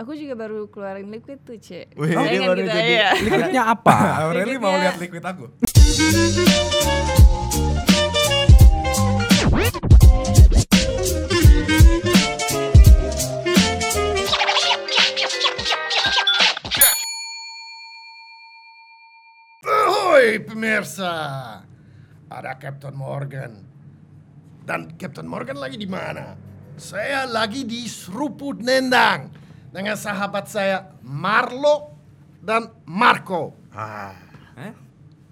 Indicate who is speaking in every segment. Speaker 1: Aku juga baru keluarin liquid tuh, Cek.
Speaker 2: Wih, dia
Speaker 1: Saingan
Speaker 2: baru
Speaker 1: kita,
Speaker 2: jadi-
Speaker 1: iya.
Speaker 3: Liquidnya apa?
Speaker 2: Aureli mau
Speaker 1: Liquidnya-
Speaker 2: lihat liquid aku. Hoi pemirsa, ada Captain Morgan. Dan Captain Morgan lagi di mana? Saya lagi di Seruput Nendang dengan sahabat saya Marlo dan Marco. Ah.
Speaker 3: Eh?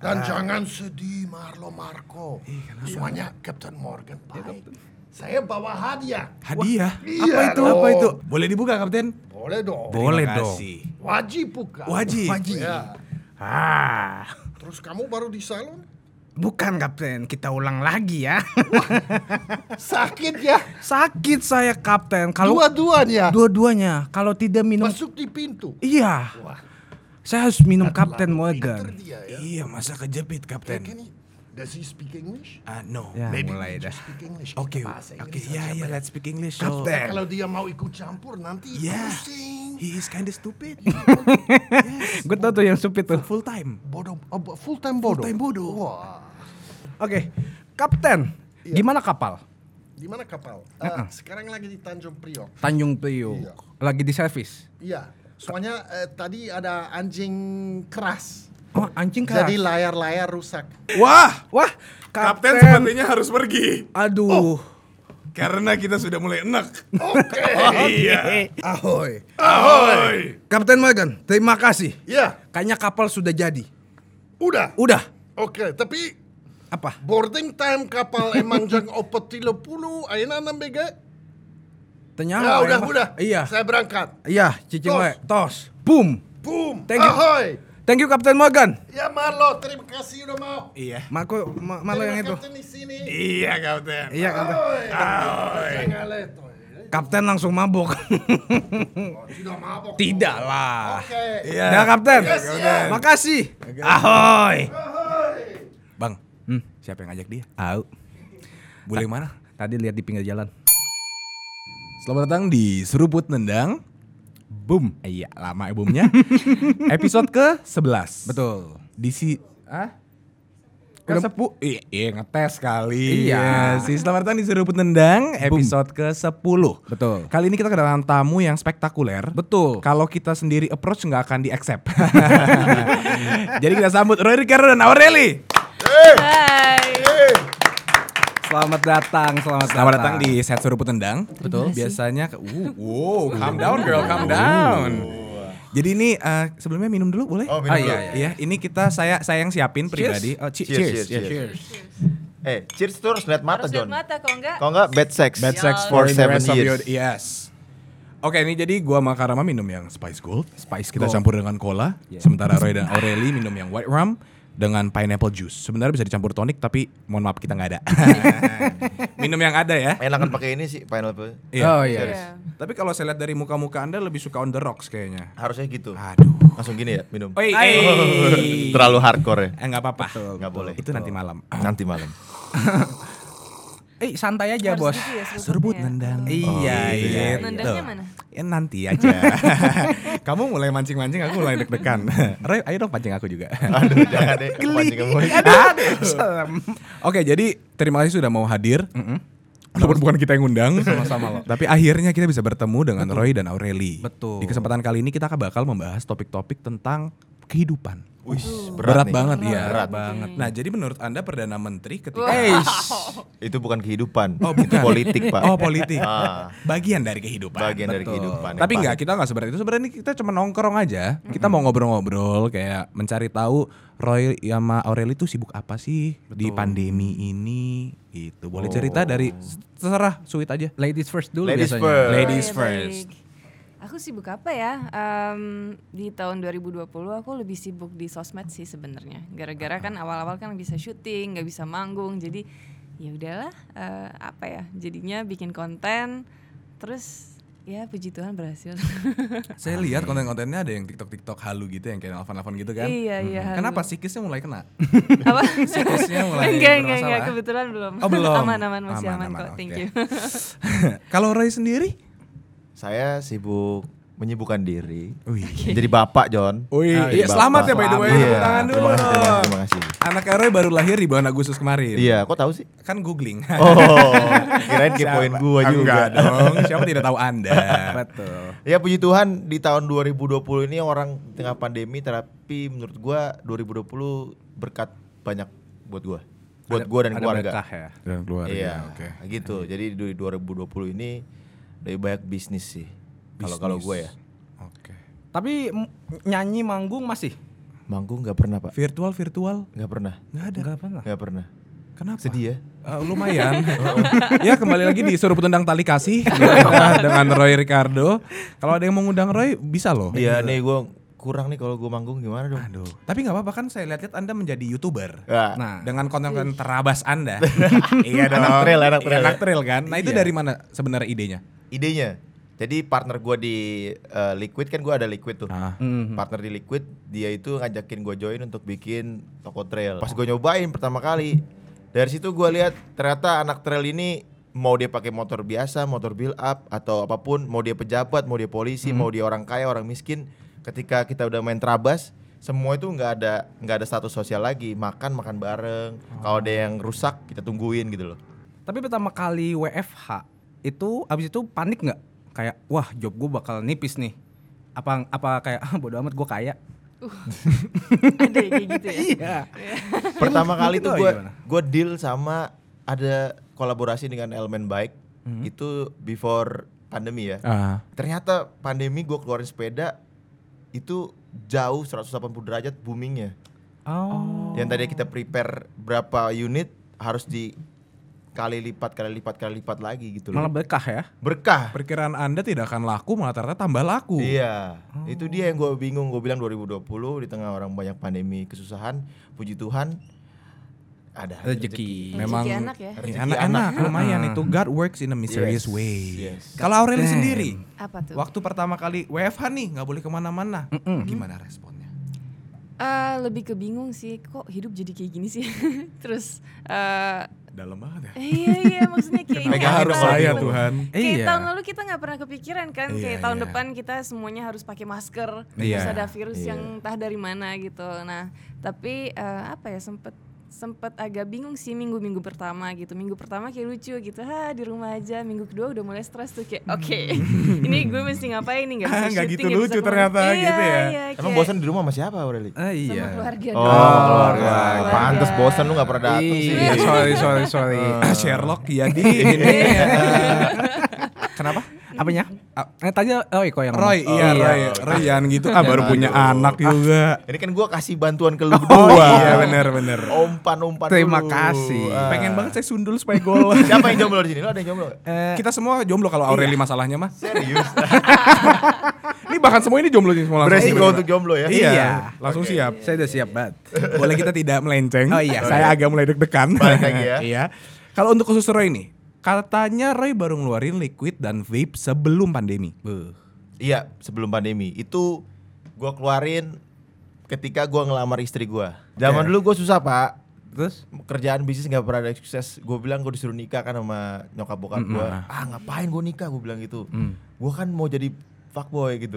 Speaker 2: Dan jangan sedih Marlo Marco. Semuanya Captain Morgan baik. Saya bawa hadiah.
Speaker 3: Ya, Hadiah?
Speaker 2: Wah, iya
Speaker 3: apa itu?
Speaker 2: dong.
Speaker 3: Apa itu? Boleh dibuka, Kapten?
Speaker 2: Boleh dong.
Speaker 3: Boleh
Speaker 4: Terima
Speaker 3: dong.
Speaker 4: kasih.
Speaker 2: Wajib buka.
Speaker 3: Wajib. Wajib.
Speaker 2: Ya.
Speaker 4: Ah,
Speaker 2: Terus kamu baru di salon?
Speaker 4: bukan Kapten, kita ulang lagi ya.
Speaker 2: Sakit ya.
Speaker 3: Sakit saya, Kapten. Kalau
Speaker 2: Dua-duanya.
Speaker 3: dua-duanya, kalau tidak minum
Speaker 2: Masuk di pintu.
Speaker 3: Iya.
Speaker 2: Wah.
Speaker 3: Saya harus minum Kapten Morgan.
Speaker 2: pinter dia ya.
Speaker 3: Iya, masa kejepit,
Speaker 2: Can,
Speaker 3: Kapten?
Speaker 2: can he, Kan does he speak English?
Speaker 4: Ah, no.
Speaker 3: Ya.
Speaker 2: Maybe
Speaker 4: Mulai
Speaker 2: we
Speaker 4: dah.
Speaker 2: just speak English.
Speaker 4: Oke,
Speaker 2: Bahasa
Speaker 4: oke,
Speaker 2: Inggris
Speaker 4: ya
Speaker 2: aja,
Speaker 4: ya,
Speaker 2: Pak.
Speaker 4: let's speak English. so-
Speaker 2: Kapten. Kalau dia mau ikut campur nanti
Speaker 4: Yeah.
Speaker 2: pusing.
Speaker 4: He is kind of stupid. yes.
Speaker 3: Gue tau tuh yang supit tuh.
Speaker 4: Full time.
Speaker 2: Bodoh, oh, full time bodoh.
Speaker 4: time bodoh.
Speaker 2: Wah. Iya.
Speaker 3: Oke, Kapten. Gimana kapal?
Speaker 2: Di mana kapal? Eh,
Speaker 4: Uh-uh.
Speaker 2: Sekarang lagi di Tanjung Priok.
Speaker 3: Tanjung Priok.
Speaker 2: Iya.
Speaker 3: Lagi di servis.
Speaker 2: Iya. Soalnya eh, tadi ada anjing keras.
Speaker 3: Oh, anjing keras.
Speaker 2: Jadi layar-layar rusak.
Speaker 4: Wah,
Speaker 3: Wah,
Speaker 4: Kapten
Speaker 3: Kapten.
Speaker 4: sepertinya harus pergi
Speaker 2: Oh.
Speaker 3: Aduh.
Speaker 4: karena kita sudah mulai enak.
Speaker 2: Oke.
Speaker 4: Iya.
Speaker 3: Ahoy.
Speaker 4: Ahoy.
Speaker 3: Kapten Morgan, terima kasih.
Speaker 2: Iya,
Speaker 3: Kayaknya kapal sudah jadi.
Speaker 2: udah.
Speaker 3: Udah.
Speaker 2: Oke, tapi
Speaker 3: Apa?
Speaker 2: boarding time kapal emang jang opet tilo puluh ayeuna enam bega.
Speaker 3: Ternyata.
Speaker 2: Ya udah
Speaker 3: emang-
Speaker 2: udah.
Speaker 3: Iya.
Speaker 2: Saya berangkat.
Speaker 3: Iya, cicing
Speaker 2: Tos.
Speaker 3: wae. Tos. Boom.
Speaker 2: Boom.
Speaker 3: Thank you.
Speaker 2: Ahoy.
Speaker 3: Thank you Kapten Morgan.
Speaker 2: Ya Marlo, terima kasih udah mau.
Speaker 4: Iya.
Speaker 3: Mako ma malu
Speaker 2: Terima
Speaker 3: yang itu.
Speaker 2: kasih Di sini.
Speaker 4: Iya, Kapten.
Speaker 3: Iya, Kapten.
Speaker 2: Ahoy.
Speaker 4: Ahoy.
Speaker 2: Jangan leto, ya.
Speaker 3: Kapten langsung mabok.
Speaker 2: Oh, Tidak mabok.
Speaker 3: Tidak lah.
Speaker 2: Oke.
Speaker 4: Iya.
Speaker 3: Ya, Kapten.
Speaker 2: Yes, iya. Kapten.
Speaker 3: Makasih. Ahoy.
Speaker 2: Ahoy.
Speaker 4: Bang,
Speaker 3: Hmm.
Speaker 4: siapa yang ngajak dia?
Speaker 3: Au.
Speaker 4: Boleh mana?
Speaker 3: Tadi lihat di pinggir jalan.
Speaker 4: Selamat datang di Seruput Nendang. Boom. Iya, lama ya boomnya. Episode ke-11.
Speaker 3: Betul.
Speaker 4: Di si ah? Ke
Speaker 3: Udah-
Speaker 4: sepu iya, iya, ngetes kali.
Speaker 3: Iya.
Speaker 4: sih. Selamat datang di Seruput Nendang episode ke-10.
Speaker 3: Betul.
Speaker 4: Kali ini kita kedatangan tamu yang spektakuler.
Speaker 3: Betul.
Speaker 4: Kalau kita sendiri approach nggak akan di accept. Jadi kita sambut Roy Ricardo dan Aureli.
Speaker 1: Hai.
Speaker 3: Selamat datang, selamat,
Speaker 4: Selamat datang di set Seruput Nendang.
Speaker 3: Betul.
Speaker 4: Biasanya ke- uh, wow,
Speaker 5: Oh,
Speaker 4: calm down girl, calm down. Jadi ini eh, sebelumnya minum dulu boleh?
Speaker 2: Oh, minum
Speaker 3: Ah, iya,
Speaker 2: dulu.
Speaker 3: iya.
Speaker 4: Iya, ini kita saya saya yang siapin pribadi. Oh, che- cheers,
Speaker 5: Cheers, cheers, cheers. Eh, cheers tuh harus lihat mata,
Speaker 1: Harus
Speaker 5: John.
Speaker 1: lihat mata kalau enggak.
Speaker 5: Kalau enggak, bad sex.
Speaker 4: Bad sex for
Speaker 5: for
Speaker 4: the
Speaker 5: seven
Speaker 4: rest of your
Speaker 5: years.
Speaker 4: yes. Oke, ini jadi gua sama Karama minum yang Spice Gold.
Speaker 3: Spice
Speaker 4: kita
Speaker 3: Gold.
Speaker 4: campur dengan cola. Sementara Roy dan Aureli minum yang White Rum dengan pineapple juice. Sebenarnya bisa dicampur tonic tapi mohon maaf kita nggak ada. minum yang ada ya.
Speaker 5: Enakan pakai ini sih, pineapple.
Speaker 4: Iya.
Speaker 3: Oh iya.
Speaker 1: Iya.
Speaker 4: Tapi kalau saya lihat dari muka-muka Anda lebih suka on the rocks kayaknya.
Speaker 5: Harusnya gitu.
Speaker 4: Aduh.
Speaker 5: Langsung gini ya, minum.
Speaker 4: Oi,
Speaker 3: Hai.
Speaker 4: oi.
Speaker 5: Terlalu hardcore ya.
Speaker 4: Eh nggak apa-apa.
Speaker 5: Nggak boleh.
Speaker 4: Itu nanti malam.
Speaker 5: Nanti malam.
Speaker 3: Eh, santai aja,
Speaker 1: Harus
Speaker 3: Bos.
Speaker 1: gitu ya, seruputnya
Speaker 4: Serbut
Speaker 1: ya.
Speaker 4: nendang. Oh,
Speaker 3: Iya, iya.
Speaker 1: Nendangnya mana?
Speaker 4: Ya nanti aja. Kamu mulai mancing-mancing, aku mulai deg-degan. Roy, ayo dong pancing aku juga.
Speaker 5: Aduh, jangan deh. Pancing kamu.
Speaker 3: Nah,
Speaker 4: Oke, jadi terima kasih sudah mau hadir. Walaupun bukan kita yang undang,
Speaker 3: Sama-sama loh.
Speaker 4: Tapi akhirnya kita bisa bertemu dengan Roy dan Aureli.
Speaker 3: Betul.
Speaker 4: Di kesempatan kali ini kita akan bakal membahas topik-topik tentang kehidupan.
Speaker 5: Wih,
Speaker 4: Berat,
Speaker 5: berat, nih.
Speaker 4: banget ya.
Speaker 5: Berat.
Speaker 4: banget. Nah, jadi menurut Anda perdana menteri ketika
Speaker 5: Itu bukan kehidupan.
Speaker 4: Oh,
Speaker 5: itu
Speaker 4: bukan.
Speaker 5: politik, Pak.
Speaker 4: Oh, politik.
Speaker 5: Ah.
Speaker 4: Bagian dari kehidupan.
Speaker 5: Bagian dari kehidupan yang
Speaker 4: Tapi enggak,
Speaker 5: pahit.
Speaker 4: kita enggak sebenarnya itu. Sebenarnya kita cuma nongkrong aja. Kita mau ngobrol-ngobrol kayak mencari tahu Roy sama Aureli itu sibuk apa sih di pandemi ini gitu. Boleh
Speaker 5: Oh.
Speaker 4: cerita dari terserah sweet aja.
Speaker 3: Ladies first dulu
Speaker 5: Ladies
Speaker 3: biasanya.
Speaker 5: first.
Speaker 4: Ladies
Speaker 1: Oh, iya,
Speaker 4: first.
Speaker 1: baik. Aku sibuk apa ya? Em, di tahun 2020 aku lebih sibuk di sosmed sih sebenarnya. Gara-gara kan awal-awal kan bisa syuting, nggak bisa manggung. Jadi ya udahlah eh, apa ya? Jadinya bikin konten terus ya puji Tuhan berhasil.
Speaker 4: Saya lihat konten-kontennya ada yang TikTok-TikTok halu gitu yang kayak nelfon-nelfon gitu kan.
Speaker 1: Iya, iya,
Speaker 4: Mhm.
Speaker 1: halu.
Speaker 4: Kenapa psikisnya mulai kena?
Speaker 1: apa?
Speaker 4: Siklusnya mulai
Speaker 1: enggak, enggak,
Speaker 4: bermasalah.
Speaker 1: enggak, kebetulan belum.
Speaker 4: Oh, belum.
Speaker 1: Aman-aman masih aman, kok.
Speaker 4: oke.
Speaker 1: Thank you.
Speaker 4: Kalau Roy sendiri?
Speaker 5: Saya sibuk menyibukkan diri.
Speaker 4: Wih.
Speaker 5: Jadi bapak John.
Speaker 4: Wih, iya,
Speaker 5: Jadi bapak.
Speaker 4: selamat ya by the way.
Speaker 5: Iya,
Speaker 4: Tepuk tangan dulu.
Speaker 5: Terima kasih, terima kasih, terima kasih.
Speaker 4: Anak Roy baru lahir di bulan Agustus kemarin.
Speaker 5: Iya, kok tahu sih?
Speaker 4: Kan googling.
Speaker 5: Oh, kirain kepoin
Speaker 4: Siapa-
Speaker 5: gua juga.
Speaker 4: Enggak dong, siapa tidak tahu Anda.
Speaker 3: Betul.
Speaker 5: Ya puji Tuhan di tahun 2020 ini orang tengah pandemi tapi menurut gua 2020 berkat banyak buat gua. Buat
Speaker 3: Ada-
Speaker 5: gua dan
Speaker 3: ada
Speaker 5: keluarga.
Speaker 3: berkah ya.
Speaker 4: Dan keluarga,
Speaker 5: Iya,
Speaker 4: oke.
Speaker 5: gitu. Jadi di 2020 ini lebih banyak bisnis sih. Kalau kalau gua ya.
Speaker 4: Oke.
Speaker 3: Tapi m- nyanyi manggung masih?
Speaker 5: Manggung nggak pernah, Pak.
Speaker 4: Virtual virtual
Speaker 5: Nggak pernah.
Speaker 4: nggak ada.
Speaker 3: Enggak pernah.
Speaker 5: Nggak pernah.
Speaker 4: Kenapa?
Speaker 5: Sedih ya.
Speaker 4: Eh, lumayan. ya kembali lagi di suruh tendang tali kasih Kita dengan Roy Ricardo. Kalau ada yang mau ngundang Roy bisa loh.
Speaker 5: Iya nih gua kurang nih kalau gua manggung gimana dong?
Speaker 4: Aduh. Tapi nggak apa-apa kan saya lihat-lihat Anda menjadi youtuber.
Speaker 5: Ya.
Speaker 4: Nah, dengan konten-konten terabas Anda. iya
Speaker 5: Anak trail, anak
Speaker 4: Iya,
Speaker 5: trail.
Speaker 4: kan. Nah, itu
Speaker 5: Iya.
Speaker 4: dari mana sebenarnya idenya?
Speaker 5: idenya. Jadi partner gua di eh, Liquid kan gua ada Liquid tuh.
Speaker 4: Ah.
Speaker 5: Partner di Liquid dia itu ngajakin gua join untuk bikin toko trail. Pas gua nyobain pertama kali dari situ gua lihat ternyata anak trail ini mau dia pakai motor biasa, motor build up atau apapun, mau dia pejabat, mau dia polisi, mau dia orang kaya, orang miskin, ketika kita udah main terabas semua itu nggak ada nggak ada status sosial lagi makan makan bareng kalau ada yang rusak kita tungguin gitu loh
Speaker 3: Tapi pertama kali WFH itu abis itu panik nggak? Kayak wah job gue bakal nipis nih. Apa apa kayak ah bodo amat gue kaya.
Speaker 1: Ada yang kayak gitu ya.
Speaker 3: Iya.
Speaker 5: pertama kali
Speaker 3: Mungkin
Speaker 5: tuh
Speaker 3: lo
Speaker 5: gue
Speaker 3: gimana?
Speaker 5: gue deal sama ada kolaborasi dengan Elemen Bike itu before pandemi ya
Speaker 4: Ah.
Speaker 5: ternyata pandemi gue keluarin sepeda itu jauh 180 derajat boomingnya
Speaker 3: Oh.
Speaker 5: yang tadi kita prepare berapa unit harus di kali lipat kali lipat kali lipat lagi gitu
Speaker 3: Malah
Speaker 5: loh
Speaker 3: berkah ya.
Speaker 5: berkah
Speaker 4: Perkiraan Anda tidak akan laku, malah ternyata tambah laku.
Speaker 5: Iya, itu dia yang gue bingung. Gue bilang 2020 di tengah orang banyak pandemi kesusahan, puji Tuhan ada
Speaker 3: Rezeki.
Speaker 4: Memang
Speaker 1: Rezeki anak ya.
Speaker 5: Rezeki
Speaker 4: Anak-anak lumayan itu God works in a mysterious
Speaker 5: Yes,
Speaker 4: way.
Speaker 5: yes.
Speaker 4: Kalau Aureli sendiri,
Speaker 1: Apa tuh?
Speaker 4: waktu pertama kali WFH nih nggak boleh kemana-mana, gimana responnya?
Speaker 1: Eh, lebih ke bingung sih kok hidup jadi kayak gini sih. Terus eh
Speaker 4: Dalam banget
Speaker 1: iya iya maksudnya kayak ini
Speaker 5: Pegang
Speaker 1: apa?
Speaker 5: harus saya,
Speaker 1: Gitu.
Speaker 4: Tuhan.
Speaker 1: Kayak
Speaker 3: Iya.
Speaker 1: tahun lalu kita nggak pernah kepikiran kan,
Speaker 4: Iya,
Speaker 1: kayak tahun
Speaker 4: iya.
Speaker 1: depan kita semuanya harus pakai masker,
Speaker 4: Iya,
Speaker 1: terus ada virus
Speaker 5: iya.
Speaker 1: yang entah dari mana gitu. Nah, tapi eh, apa ya sempet sempet agak bingung sih minggu-minggu pertama gitu. Minggu pertama kayak lucu gitu, ha di rumah aja. Minggu kedua udah mulai stres tuh kayak, oke, ini gue mesti ngapain nih? Gak bisa
Speaker 4: Ah, nggak
Speaker 1: syuting,
Speaker 4: gitu
Speaker 1: nggak bisa
Speaker 4: lucu
Speaker 1: kemana-
Speaker 4: ternyata
Speaker 1: Iya,
Speaker 4: gitu ya.
Speaker 1: iya,
Speaker 5: Emang
Speaker 1: kayak
Speaker 5: bosan di rumah sama siapa Aureli?
Speaker 3: Ah,
Speaker 1: sama
Speaker 3: iya.
Speaker 1: keluarga
Speaker 5: Oh,
Speaker 1: dong.
Speaker 5: keluarga.
Speaker 1: Keluarga.
Speaker 5: Pantes bosan lu gak pernah dateng sih.
Speaker 3: Iya, sorry sorry sorry.
Speaker 4: Sherlock ya di ini. eh, Kenapa?
Speaker 1: Iya.
Speaker 3: Apanya? Ah, eh, tanya Roy kok yang
Speaker 4: Roy,
Speaker 3: ngomong.
Speaker 4: iya
Speaker 3: Oh,
Speaker 4: Roy, Roy jangan gitu. Ah baru punya
Speaker 5: Aduh.
Speaker 4: anak juga.
Speaker 5: Ini kan gua kasih bantuan ke lu
Speaker 4: Oh
Speaker 5: berdua.
Speaker 4: iya bener bener.
Speaker 5: Oh, Umpan-umpan
Speaker 3: Terima
Speaker 5: dulu.
Speaker 3: kasih.
Speaker 5: Ah.
Speaker 4: Pengen banget saya sundul supaya gol.
Speaker 5: Siapa yang jomblo di sini? Lu ada yang jomblo? nggak?
Speaker 3: Eh,
Speaker 4: Kita semua jomblo kalau Aureli masalahnya mah.
Speaker 5: Serius?
Speaker 4: Ini bahkan semua ini jomblo nih semua langsung.
Speaker 5: Beresiko untuk jomblo ya?
Speaker 4: Iya,
Speaker 3: Iya.
Speaker 4: langsung siap.
Speaker 3: saya udah siap banget.
Speaker 4: Boleh kita tidak melenceng.
Speaker 3: Oh, iya.
Speaker 4: Saya agak mulai deg-degan.
Speaker 5: Balik lagi ya.
Speaker 4: iya. Kalau untuk khusus Roy nih, katanya Roy baru ngeluarin liquid dan vape sebelum pandemi.
Speaker 5: Iya, sebelum pandemi. Itu gua keluarin ketika gua ngelamar istri gua. Zaman dulu gua susah, Pak.
Speaker 3: Terus
Speaker 5: kerjaan bisnis nggak pernah ada yang sukses gue bilang gue disuruh nikah kan sama nyokap bokap gue ah ngapain gue nikah gue bilang gitu gue kan mau jadi fuckboy gitu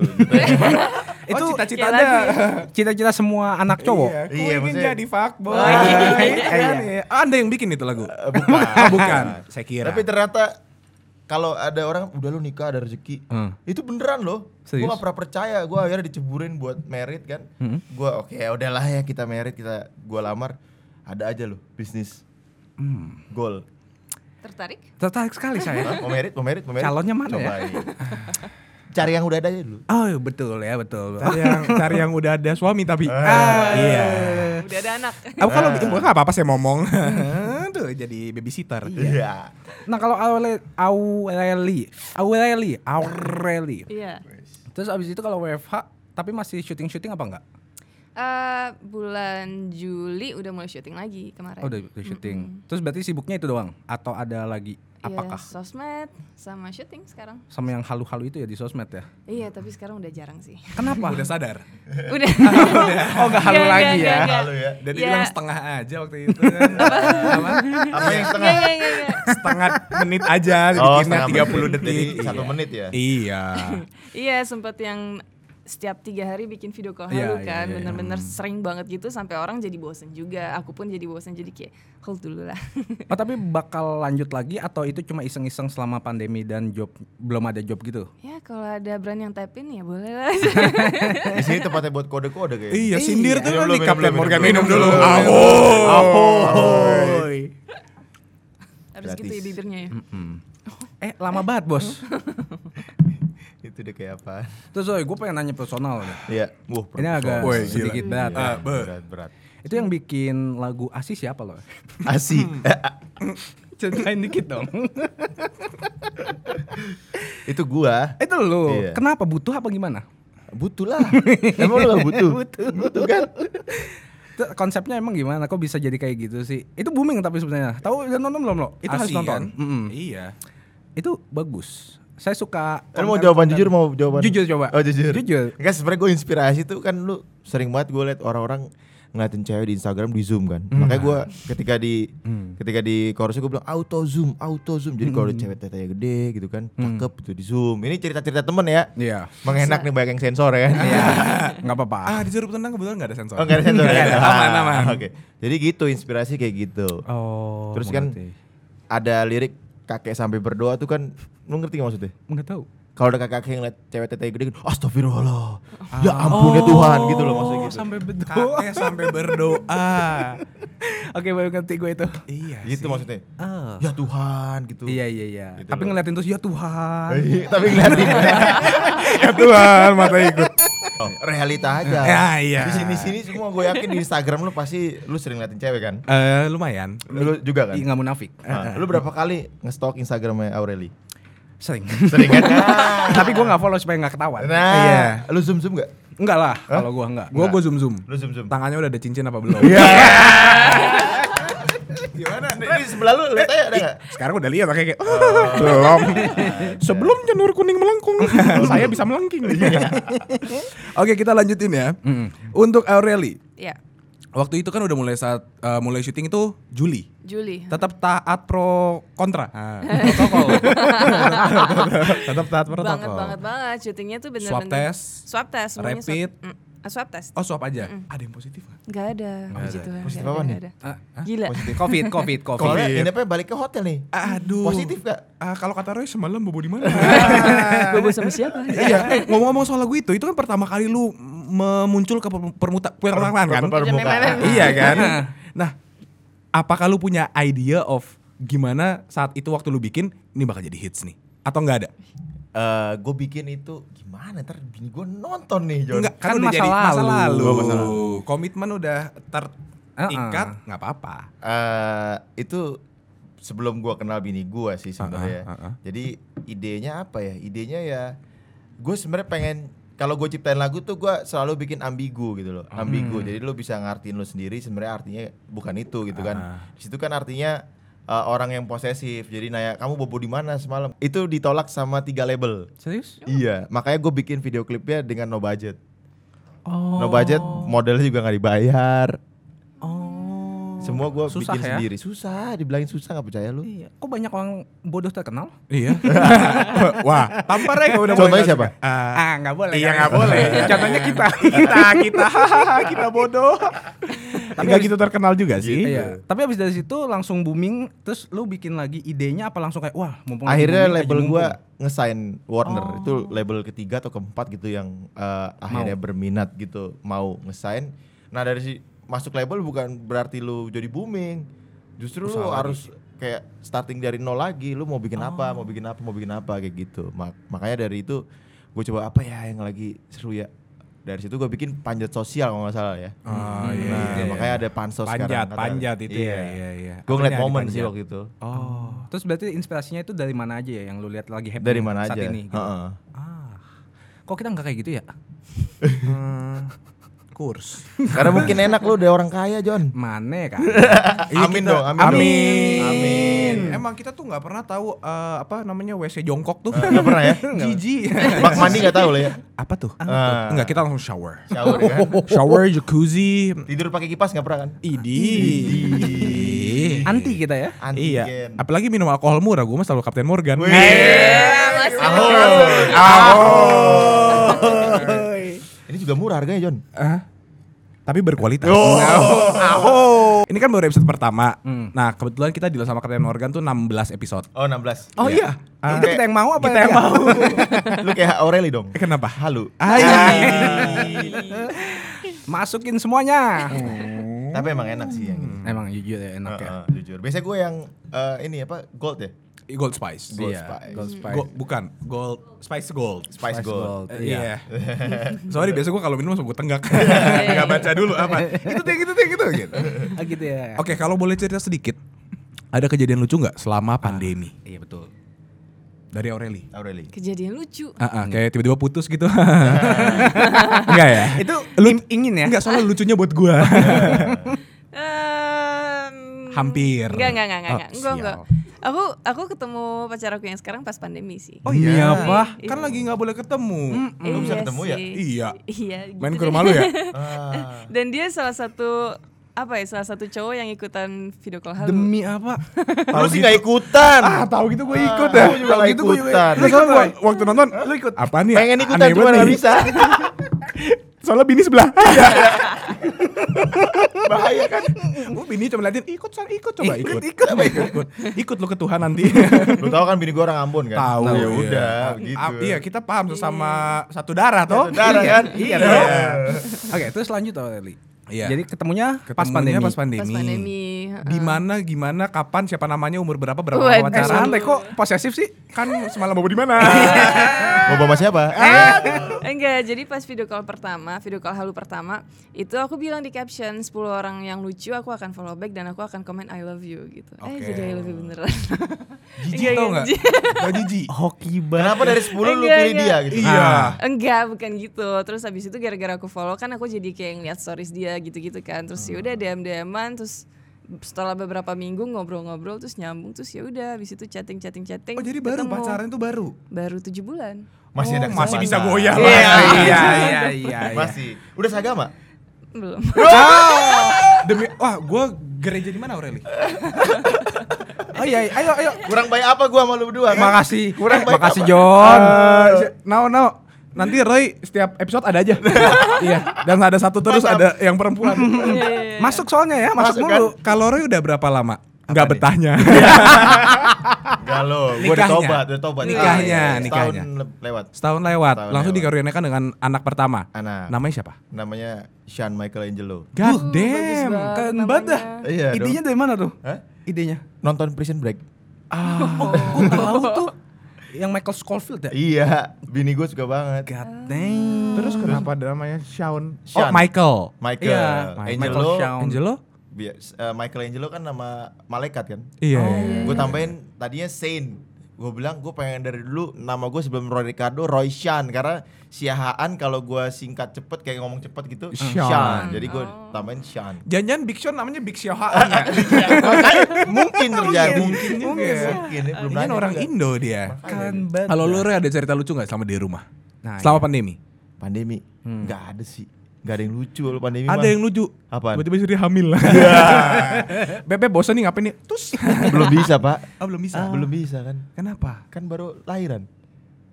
Speaker 4: Itu
Speaker 3: itu
Speaker 1: kayak
Speaker 4: cita-cita Anda.
Speaker 1: lagu
Speaker 3: cita-cita semua anak cowok.
Speaker 4: Iya,
Speaker 5: Iya,
Speaker 4: Ku ingin
Speaker 5: maksudnya- Oh,
Speaker 4: jadi fuckboy.
Speaker 3: Ah, iya,
Speaker 4: Iya
Speaker 3: iya,
Speaker 4: kan,
Speaker 3: iya.
Speaker 4: iya. Anda yang bikin itu lagu.
Speaker 5: Eh, bukan
Speaker 4: Ah, bukan.
Speaker 5: Iya.
Speaker 4: Saya kira.
Speaker 5: tapi ternyata kalau ada orang udah lu nikah ada rezeki
Speaker 3: Hmm.
Speaker 5: itu beneran loh gue
Speaker 3: Serius?
Speaker 5: gak pernah percaya gue akhirnya diceburin buat merit kan gue oke udahlah ya kita merit kita gue lamar ada aja loh bisnis goal
Speaker 1: Tertarik?
Speaker 3: Tertarik sekali saya.
Speaker 5: Hah? mau merit mau merit mau merit
Speaker 3: Calonnya mana ya?
Speaker 5: Cobain. cari yang udah ada aja dulu
Speaker 3: Oh betul ya betul.
Speaker 4: cari yang cari yang udah ada suami
Speaker 5: Eh.
Speaker 4: tapi. Ah, iya.
Speaker 1: Udah ada anak.
Speaker 4: Aku Eh, kalau enggak apa-apa saya ngomong. Aduh, jadi babysitter.
Speaker 5: Iya.
Speaker 3: Nah kalau Aureli, Aureli, Aureli, Aureli.
Speaker 1: Iya.
Speaker 3: Terus abis itu kalau WFH tapi masih syuting syuting apa enggak?
Speaker 1: Eh, bulan Juli udah mulai syuting lagi kemarin.
Speaker 3: Oh udah, udah syuting. Terus berarti sibuknya itu doang atau ada lagi?
Speaker 1: Iya,
Speaker 3: Apakah
Speaker 1: sosmed sama syuting sekarang.
Speaker 3: sama yang halu-halu itu ya di sosmed ya?
Speaker 1: Iya, tapi sekarang udah jarang sih.
Speaker 3: Kenapa?
Speaker 4: Udah sadar.
Speaker 1: Udah. Iya,
Speaker 3: oh nggak halu
Speaker 1: Enggak,
Speaker 3: lagi
Speaker 1: enggak,
Speaker 3: ya?
Speaker 1: enggak,
Speaker 5: Lalu ya.
Speaker 4: Dan
Speaker 1: Iya.
Speaker 4: dibilang setengah aja waktu itu. kan. Apa?
Speaker 5: Iya. Apa yang setengah?
Speaker 1: Enggak, enggak, enggak, enggak.
Speaker 4: setengah menit aja dibikinnya
Speaker 5: Oh, setengah
Speaker 4: 30
Speaker 5: menit. Jadi
Speaker 4: detik.
Speaker 5: satu menit ya.
Speaker 4: Iya.
Speaker 1: Iya, sempat yang setiap tiga hari bikin video call
Speaker 4: Iya,
Speaker 1: halu
Speaker 4: iya,
Speaker 1: kan,
Speaker 4: iya, iya.
Speaker 1: bener-bener sering banget gitu sampai orang jadi bosen juga. Aku pun jadi bosen jadi kayak hold dulu lah.
Speaker 3: Oh, tapi bakal lanjut lagi atau itu cuma iseng-iseng selama pandemi dan job belum ada job gitu?
Speaker 1: ya kalau ada brand yang tap in ya boleh lah.
Speaker 5: Di sini tempatnya buat kode-kode kayaknya.
Speaker 4: Iya, sindir tuh
Speaker 5: Minum
Speaker 4: di
Speaker 5: dulu, minum
Speaker 4: Kapten
Speaker 5: dulu,
Speaker 4: Morgan
Speaker 5: minum
Speaker 4: minum dulu.
Speaker 5: dulu.
Speaker 4: Ahoy.
Speaker 5: Ahoy.
Speaker 1: Harus gitu ya
Speaker 5: Gratis.
Speaker 1: bibirnya ya.
Speaker 3: Eh lama banget bos.
Speaker 5: gitu. Itu deh kayak apa?
Speaker 3: Terus gue pengen nanya personal nih.
Speaker 5: Iya. Wah,
Speaker 3: Ini agak
Speaker 4: Woi, gila.
Speaker 3: sedikit
Speaker 5: Ya,
Speaker 3: data.
Speaker 4: Ah, be.
Speaker 5: berat-berat.
Speaker 3: Itu yang bikin lagu Asis siapa loh?
Speaker 5: Asi.
Speaker 3: Hmm.
Speaker 5: Eh,
Speaker 3: Ceritain dikit dong.
Speaker 5: Itu gua.
Speaker 3: itu lo.
Speaker 5: Iya.
Speaker 3: Kenapa butuh apa gimana?
Speaker 5: Butuh lah. Emang lu gak butuh?
Speaker 3: Butuh.
Speaker 5: Butuh kan?
Speaker 3: Itu konsepnya emang gimana? Kok bisa jadi kayak gitu sih? Itu booming tapi sebenarnya. Tahu udah nonton belum lo? Itu harus
Speaker 4: Asian.
Speaker 3: nonton. Mm-mm.
Speaker 4: Iya.
Speaker 3: Itu bagus. Saya suka.
Speaker 5: Lu mau
Speaker 3: konten-
Speaker 5: jawaban jujur mau jawaban?
Speaker 3: Jujur coba.
Speaker 5: Oh jujur.
Speaker 3: Jujur.
Speaker 5: Kan sebenarnya gue inspirasi tuh kan lu sering banget gue liat orang-orang ngeliatin cewek di Instagram di zoom kan.
Speaker 3: Hmm.
Speaker 5: Makanya gue ketika di ketika di chorusnya gue bilang auto zoom, auto zoom. Jadi
Speaker 3: Hmm.
Speaker 5: kalau ada cewek tetenya gede gitu kan, cakep tuh di zoom. Ini cerita-cerita temen ya.
Speaker 3: Iya.
Speaker 5: Mengenak nih banyak yang sensor ya. kan?
Speaker 3: Nggak apa-apa.
Speaker 4: Ah, di jeruk tenang kebetulan enggak ada sensor.
Speaker 5: Oh enggak ada sensor.
Speaker 4: Nggak
Speaker 5: ya?
Speaker 3: Iya,
Speaker 4: ada, aman, aman.
Speaker 5: Oke. Jadi gitu inspirasi kayak gitu.
Speaker 3: Oh.
Speaker 5: Terus kan
Speaker 3: mengerti.
Speaker 5: ada lirik kakek sampai berdoa tuh kan lu ngerti gak maksudnya?
Speaker 3: nggak tahu.
Speaker 5: Kalau ada kakek yang ngeliat cewek tetenya gede, astagfirullah, ya ampun ya Tuhan gitu loh maksudnya gitu.
Speaker 3: Sampai berdoa.
Speaker 4: Kakek sampai berdoa.
Speaker 3: Oke, baru ngerti gue itu.
Speaker 4: iya. sih.
Speaker 5: gitu maksudnya.
Speaker 3: Ah.
Speaker 5: Ya Tuhan gitu.
Speaker 3: Iya iya iya.
Speaker 5: Gitu
Speaker 3: Tapi
Speaker 5: loh.
Speaker 3: ngeliatin terus ya Tuhan.
Speaker 5: Iya, Tapi ngeliatin
Speaker 4: Ya Tuhan, mata ikut.
Speaker 5: Oh, realita aja.
Speaker 4: Ya, iya.
Speaker 5: Di sini-sini semua gue yakin di Instagram lu pasti lu sering ngeliatin cewek kan?
Speaker 4: Eh, lumayan.
Speaker 5: Lu juga kan?
Speaker 3: Ih, nggak munafik.
Speaker 5: Nah, lu berapa kali ngestalk Instagramnya Aureli?
Speaker 3: Sering.
Speaker 5: Sering kan? Nah,
Speaker 3: Tapi gue nggak follow supaya nggak ketahuan.
Speaker 4: Iya.
Speaker 5: lu zoom-zoom gak?
Speaker 3: Enggak lah, kalau gue enggak.
Speaker 4: Gua gua zoom zoom.
Speaker 5: Lu zoom-zoom?
Speaker 4: Tangannya udah ada cincin apa belum?
Speaker 5: Gimana? Ini sebelah lu, lihat aja ada gak?
Speaker 4: Sekarang udah lihat kayak
Speaker 3: Oh,
Speaker 4: belum. Sebelum janur kuning melengkung, saya bisa melengking. Oke, kita lanjutin ya. Untuk Aureli,
Speaker 1: Ya,
Speaker 4: waktu itu kan udah mulai saat eh, mulai syuting itu Juli.
Speaker 3: Ya.
Speaker 1: Juli.
Speaker 4: Tetap taat pro kontra. Protokol. Ah. Tetap taat protokol.
Speaker 1: Banget banget banget syutingnya tuh bener-bener
Speaker 4: Swab test.
Speaker 1: Swab test, semuanya swab-
Speaker 4: Rapid.
Speaker 1: Mm, ah, swab test.
Speaker 4: Oh, swab aja. Ada yang positif nggak?
Speaker 1: Gak ada, puji Tuhan. nggak
Speaker 5: Positif apa
Speaker 1: ada,
Speaker 5: nih?
Speaker 1: nggak ada.
Speaker 4: Ah, ah.
Speaker 1: Gila.
Speaker 3: Covid, covid, covid.
Speaker 5: Soalnya nginepnya balik ke hotel nih.
Speaker 4: Aduh.
Speaker 5: Positif gak?
Speaker 4: Ah, kalau kata Roy semalam bobo di mana? Ah.
Speaker 1: Gue sama siapa?
Speaker 4: Iya, eh, ngomong-ngomong soal lagu itu, itu kan pertama kali lu memuncul ke per- permuta permukaan kan?
Speaker 5: per- permukaan.
Speaker 4: iya kan? Nah, apakah lu punya idea of gimana saat itu waktu lu bikin ini bakal jadi hits nih? Atau nggak ada?
Speaker 5: Eh, gue bikin itu gimana ntar bini gue nonton nih John.
Speaker 4: Enggak,
Speaker 3: kan masa
Speaker 4: masa
Speaker 3: lalu.
Speaker 4: lalu. Ah,
Speaker 3: Oh, masa
Speaker 4: Komitmen udah terikat, nggak apa-apa.
Speaker 5: Eh, itu sebelum gua kenal bini gua sih sebenarnya.
Speaker 4: Ah, ah, ah, ah.
Speaker 5: Jadi idenya apa ya? Idenya ya gue sebenarnya pengen kalau gue ciptain lagu tuh gua selalu bikin ambigu gitu
Speaker 4: Hmm.
Speaker 5: loh. Ambigu. Jadi lu bisa ngartiin lu sendiri sebenarnya artinya bukan itu gitu kan.
Speaker 4: Ah.
Speaker 5: Di situ kan artinya eh, orang yang posesif. Jadi nanya kamu bobo di mana semalam? Itu ditolak sama tiga label.
Speaker 3: Serius?
Speaker 5: Iya, makanya gue bikin video klipnya dengan no budget. No budget, modelnya juga nggak dibayar.
Speaker 3: Oh.
Speaker 5: Semua gue
Speaker 3: Susah
Speaker 5: bikin
Speaker 3: ya?
Speaker 5: sendiri. Susah, dibilangin susah nggak percaya lu.
Speaker 3: Iya. Kok banyak orang bodoh terkenal?
Speaker 4: Iya. Wah, tampar ya udah mulai
Speaker 5: Contohnya
Speaker 4: nggak
Speaker 5: siapa?
Speaker 4: suka. Ah,
Speaker 3: Ah, nggak boleh.
Speaker 4: Iya
Speaker 3: kan?
Speaker 4: nggak boleh. Contohnya kita, kita, kita, kita bodoh. Tapi nggak gitu terkenal juga sih.
Speaker 3: Iya. Tapi abis dari situ langsung booming, terus lu bikin lagi idenya apa langsung kayak wah mumpung lagi
Speaker 5: Akhirnya
Speaker 3: booming,
Speaker 5: label
Speaker 3: aja
Speaker 5: gue
Speaker 3: mumpung.
Speaker 5: ngesign Warner
Speaker 4: Oh.
Speaker 5: itu label ketiga atau keempat gitu yang eh, akhirnya berminat gitu mau ngesign. Nah dari si masuk label bukan berarti lu jadi booming, justru lu harus kayak starting dari nol lagi. Lu mau bikin apa,
Speaker 4: Oh.
Speaker 5: mau bikin apa, mau bikin apa kayak gitu. Ma- makanya dari itu gue coba apa ya yang lagi seru ya. Dari situ gue bikin panjat sosial kalau nggak salah ya.
Speaker 4: Oh, iya,
Speaker 5: nah
Speaker 4: iya, iya.
Speaker 5: makanya ada pansos
Speaker 4: panjat,
Speaker 5: sekarang. katanya.
Speaker 4: panjat itu ya. Iya, iya.
Speaker 5: Gue ngeliat
Speaker 4: Akhirnya ada
Speaker 5: momen sih
Speaker 4: panjat.
Speaker 5: waktu itu.
Speaker 4: Oh.
Speaker 3: Terus berarti inspirasinya itu dari mana aja ya yang lu lihat lagi happening
Speaker 5: Dari
Speaker 4: gitu.
Speaker 5: mana
Speaker 3: saat
Speaker 5: aja?
Speaker 3: ini? gitu?
Speaker 5: Heeh.
Speaker 3: Ah. Kok kita nggak kayak gitu ya?
Speaker 4: kurs.
Speaker 5: Karena mungkin enak lu udah orang kaya, John.
Speaker 3: Mana kan?
Speaker 5: Amin dong,
Speaker 4: Iya, Amin.
Speaker 5: amin. dong. Amin.
Speaker 4: Emang kita tuh nggak pernah tahu eh, apa namanya WC jongkok tuh.
Speaker 5: Eh, nggak pernah ya?
Speaker 4: Jijik.
Speaker 5: Bak mandi nggak tahu lah ya.
Speaker 4: apa tuh?
Speaker 5: Ah.
Speaker 4: Enggak, kita langsung shower.
Speaker 5: Shower ya.
Speaker 4: kan. Shower, jacuzzi,
Speaker 5: Tidur pakai kipas nggak pernah kan?
Speaker 4: idi.
Speaker 3: Anti kita ya.
Speaker 5: Antigen.
Speaker 4: Iya, apalagi minum alkohol murah, gue mah selalu Kapten Morgan. Eh,
Speaker 1: masih
Speaker 5: Ini juga murah harganya, John.
Speaker 4: Ah, tapi berkualitas. Nah, oh. Ini kan baru episode pertama. Nah, kebetulan kita deal sama Kapten Morgan tuh 16 episode.
Speaker 5: Oh, iya. 16.
Speaker 3: Oh iya.
Speaker 4: Ah.
Speaker 3: Itu kita yang mau apa ya,
Speaker 4: Kita yang mau.
Speaker 5: Lu kayak Aureli dong.
Speaker 4: Eh, Kenapa?
Speaker 5: Halu.
Speaker 3: Masukin semuanya.
Speaker 5: Tapi emang enak sih yang ini.
Speaker 3: Emang jujur ya enak ya.
Speaker 5: Heeh, jujur. Biasanya gue yang eh, ini apa? Gold ya?
Speaker 4: Gold Spice.
Speaker 5: Gold
Speaker 4: Iya.
Speaker 5: Spice.
Speaker 3: Gold Spice.
Speaker 4: Go- bukan, Gold Spice Gold.
Speaker 3: Spice
Speaker 5: Spice, gold.
Speaker 3: Gold.
Speaker 4: Eh,
Speaker 3: Iya.
Speaker 4: Iya. Sorry, biasa gue kalau minum langsung gue tenggak. Nggak baca dulu apa. Itu deh, gitu deh, gitu. gitu.
Speaker 3: Ah, gitu ya.
Speaker 4: Oke, kalau boleh cerita sedikit, ada kejadian lucu nggak selama pandemi
Speaker 3: Iya betul.
Speaker 4: dari Aureli?
Speaker 5: Aureli.
Speaker 1: Kejadian lucu.
Speaker 4: Ah, ah, kayak tiba-tiba putus gitu. Enggak ya?
Speaker 3: Itu
Speaker 4: Lu-
Speaker 3: im- ingin ya.
Speaker 4: Enggak soalnya lucunya buat gua.
Speaker 1: Em,
Speaker 4: Hampir.
Speaker 1: Enggak, enggak, enggak, enggak.
Speaker 4: Oh,
Speaker 1: enggak. Enggak,
Speaker 4: sial.
Speaker 1: enggak. Aku aku ketemu pacar aku yang sekarang pas pandemi sih.
Speaker 4: Oh iya.
Speaker 3: Iya, apa?
Speaker 4: Kan lagi nggak boleh ketemu.
Speaker 5: Lu bisa ketemu ya?
Speaker 1: sih.
Speaker 4: Iya.
Speaker 1: Iya. gitu
Speaker 4: Main ke
Speaker 1: deh.
Speaker 4: rumah lu ya?
Speaker 5: Ah.
Speaker 1: Dan dia salah satu apa ya salah satu cowok yang ikutan video call halu.
Speaker 3: Demi apa?
Speaker 5: Lu sih nggak ikutan.
Speaker 4: Ah, tahu gitu gue ikut
Speaker 5: gitu.
Speaker 4: ya.
Speaker 5: Ah, gua juga
Speaker 4: Tahu
Speaker 5: nggak
Speaker 4: gitu gue
Speaker 5: ikutan.
Speaker 4: Lu ikut nggak? waktu nonton, lu ikut. Apa nih?
Speaker 5: Pengen
Speaker 4: Aneh
Speaker 5: ikutan cuma
Speaker 4: banget
Speaker 5: nggak
Speaker 4: nih.
Speaker 5: bisa.
Speaker 4: Soalnya bini sebelah.
Speaker 5: Bahaya kan.
Speaker 4: Gue bini cuma liatin, ikut sana, ikut coba ikut. Ikut, ikut. Ikut lu ke Tuhan nanti.
Speaker 5: Lu tahu kan bini gue orang Ambon kan?
Speaker 4: Tahu
Speaker 5: ya
Speaker 4: ya
Speaker 5: udah
Speaker 4: Ah,
Speaker 5: gitu.
Speaker 4: Iya, kita paham sesama satu darah toh.
Speaker 5: Saudara kan? Iya. dong.
Speaker 3: Oke, terus lanjut Aureli.
Speaker 4: Iya.
Speaker 3: Jadi ketemunya, pas
Speaker 4: Ketemunya
Speaker 3: pandemi.
Speaker 4: Pas pandemi.
Speaker 1: Pas pandemi. heeh.
Speaker 4: di mana gimana kapan siapa namanya umur berapa berapa
Speaker 1: Waduh.
Speaker 3: Eh,
Speaker 4: wawancara
Speaker 3: santai kok posesif sih?
Speaker 4: kan semalam bobo di mana
Speaker 5: Mau bawa siapa? Eh,
Speaker 1: Enggak, jadi pas video call pertama, video call halu pertama, itu aku bilang di caption 10 orang yang lucu aku akan follow back dan aku akan komen I love you gitu. Eh
Speaker 4: Oke.
Speaker 1: jadi I love you beneran. Iya,
Speaker 4: jijik tau nggak tau jijik
Speaker 5: Hoki banget. Kenapa dari 10 lu
Speaker 1: Enggak,
Speaker 5: pilih dia
Speaker 1: enggak.
Speaker 5: gitu?
Speaker 4: iya
Speaker 1: Enggak, bukan gitu. Terus habis itu gara-gara aku follow kan aku jadi kayak ngeliat stories dia gitu-gitu kan. Terus ya udah
Speaker 4: Hmm.
Speaker 1: DM-DM-an terus setelah beberapa minggu ngobrol-ngobrol terus nyambung terus ya udah habis itu chatting chatting chatting
Speaker 4: oh jadi baru
Speaker 1: ketemu.
Speaker 4: pacaran tuh baru
Speaker 1: baru tujuh bulan
Speaker 5: Masih ada
Speaker 4: Oh, masih
Speaker 5: kesempatan.
Speaker 4: bisa goyah lah
Speaker 3: Iya, iya, iya, iya.
Speaker 5: Masih. Udah seagama?
Speaker 1: belum
Speaker 3: Oh,
Speaker 4: demi wah gue gereja di mana Aureli
Speaker 3: Oh iya, iya. ayo ayo.
Speaker 5: Kurang baik apa gua sama lu berdua? kan?
Speaker 3: Makasih.
Speaker 5: Kurang baik
Speaker 3: Makasih
Speaker 5: apa?
Speaker 3: John.
Speaker 4: Eh, no no nanti Roy setiap episode ada aja iya dan ada satu terus ada
Speaker 5: Mantap.
Speaker 4: yang perempuan iya,
Speaker 3: Masuk soalnya ya, masuk,
Speaker 5: Masuk kan?
Speaker 3: mulu.
Speaker 4: kalau Roy udah berapa lama nggak Iya,
Speaker 5: nih?
Speaker 4: betahnya
Speaker 5: Enggak lo, gua udah
Speaker 4: Nikahnya.
Speaker 5: tobat, udah tobat. Iya,
Speaker 4: Nikahnya,
Speaker 5: Setahun
Speaker 4: nikahnya.
Speaker 5: le- lewat.
Speaker 4: setahun lewat
Speaker 5: Setahun
Speaker 4: langsung
Speaker 5: lewat.
Speaker 4: dikaruniakan dengan anak pertama
Speaker 5: Anak.
Speaker 4: namanya siapa
Speaker 5: Namanya Sean Michael
Speaker 4: God
Speaker 5: Angelo.
Speaker 1: bagus
Speaker 4: damn
Speaker 1: banget
Speaker 3: keren
Speaker 1: namanya.
Speaker 3: banget dah.
Speaker 5: Iya dong.
Speaker 3: Idenya dari mana tuh?
Speaker 5: Hah?
Speaker 3: Idenya.
Speaker 5: Nonton Prison Break.
Speaker 3: Gue tahu tuh yang Michael Scofield ya.
Speaker 5: Iya, bini gue suka banget.
Speaker 3: God damn.
Speaker 4: Terus kenapa namanya Shawn? Oh,
Speaker 5: Shawn.
Speaker 4: Michael.
Speaker 5: Michael,
Speaker 3: Iya,
Speaker 5: Angelo,
Speaker 3: Michael Shawn.
Speaker 4: Angelo?
Speaker 5: bi- eh, Michael Angelo kan nama malaikat kan.
Speaker 4: Iya.
Speaker 5: Gue tambahin tadinya Saint. Gue bilang gue pengen dari dulu nama gue sebelum Roy Ricardo Roy Sean karena siahaan kalau gue singkat cepet kayak ngomong cepet gitu
Speaker 4: Sean.
Speaker 5: Jadi gue tambahin Sean.
Speaker 4: Jangan-jangan Big Sean namanya Big Seohaan ya?
Speaker 5: mungkin terjadi. Mungkin,
Speaker 4: Mungkin.
Speaker 5: mungkin. ya, Belum
Speaker 4: Dia kan
Speaker 5: nanya
Speaker 4: orang
Speaker 5: juga.
Speaker 4: Indo dia.
Speaker 3: Keren banget.
Speaker 4: Kalau lu Re, ada cerita lucu nggak selama di rumah?
Speaker 3: Nah,
Speaker 4: selama pandemi?
Speaker 5: pandemi nggak ada sih nggak ada yang lucu kalau pandemi
Speaker 4: Hmm. Ada yang lucu.
Speaker 5: Apaan?
Speaker 4: Tiba-tiba istri hamil. Bebe bosan nih ngapain nih? Tus.
Speaker 5: belum bisa pak
Speaker 4: Oh, belum bisa.
Speaker 5: belum bisa kan
Speaker 4: Kenapa?
Speaker 5: kan baru lahiran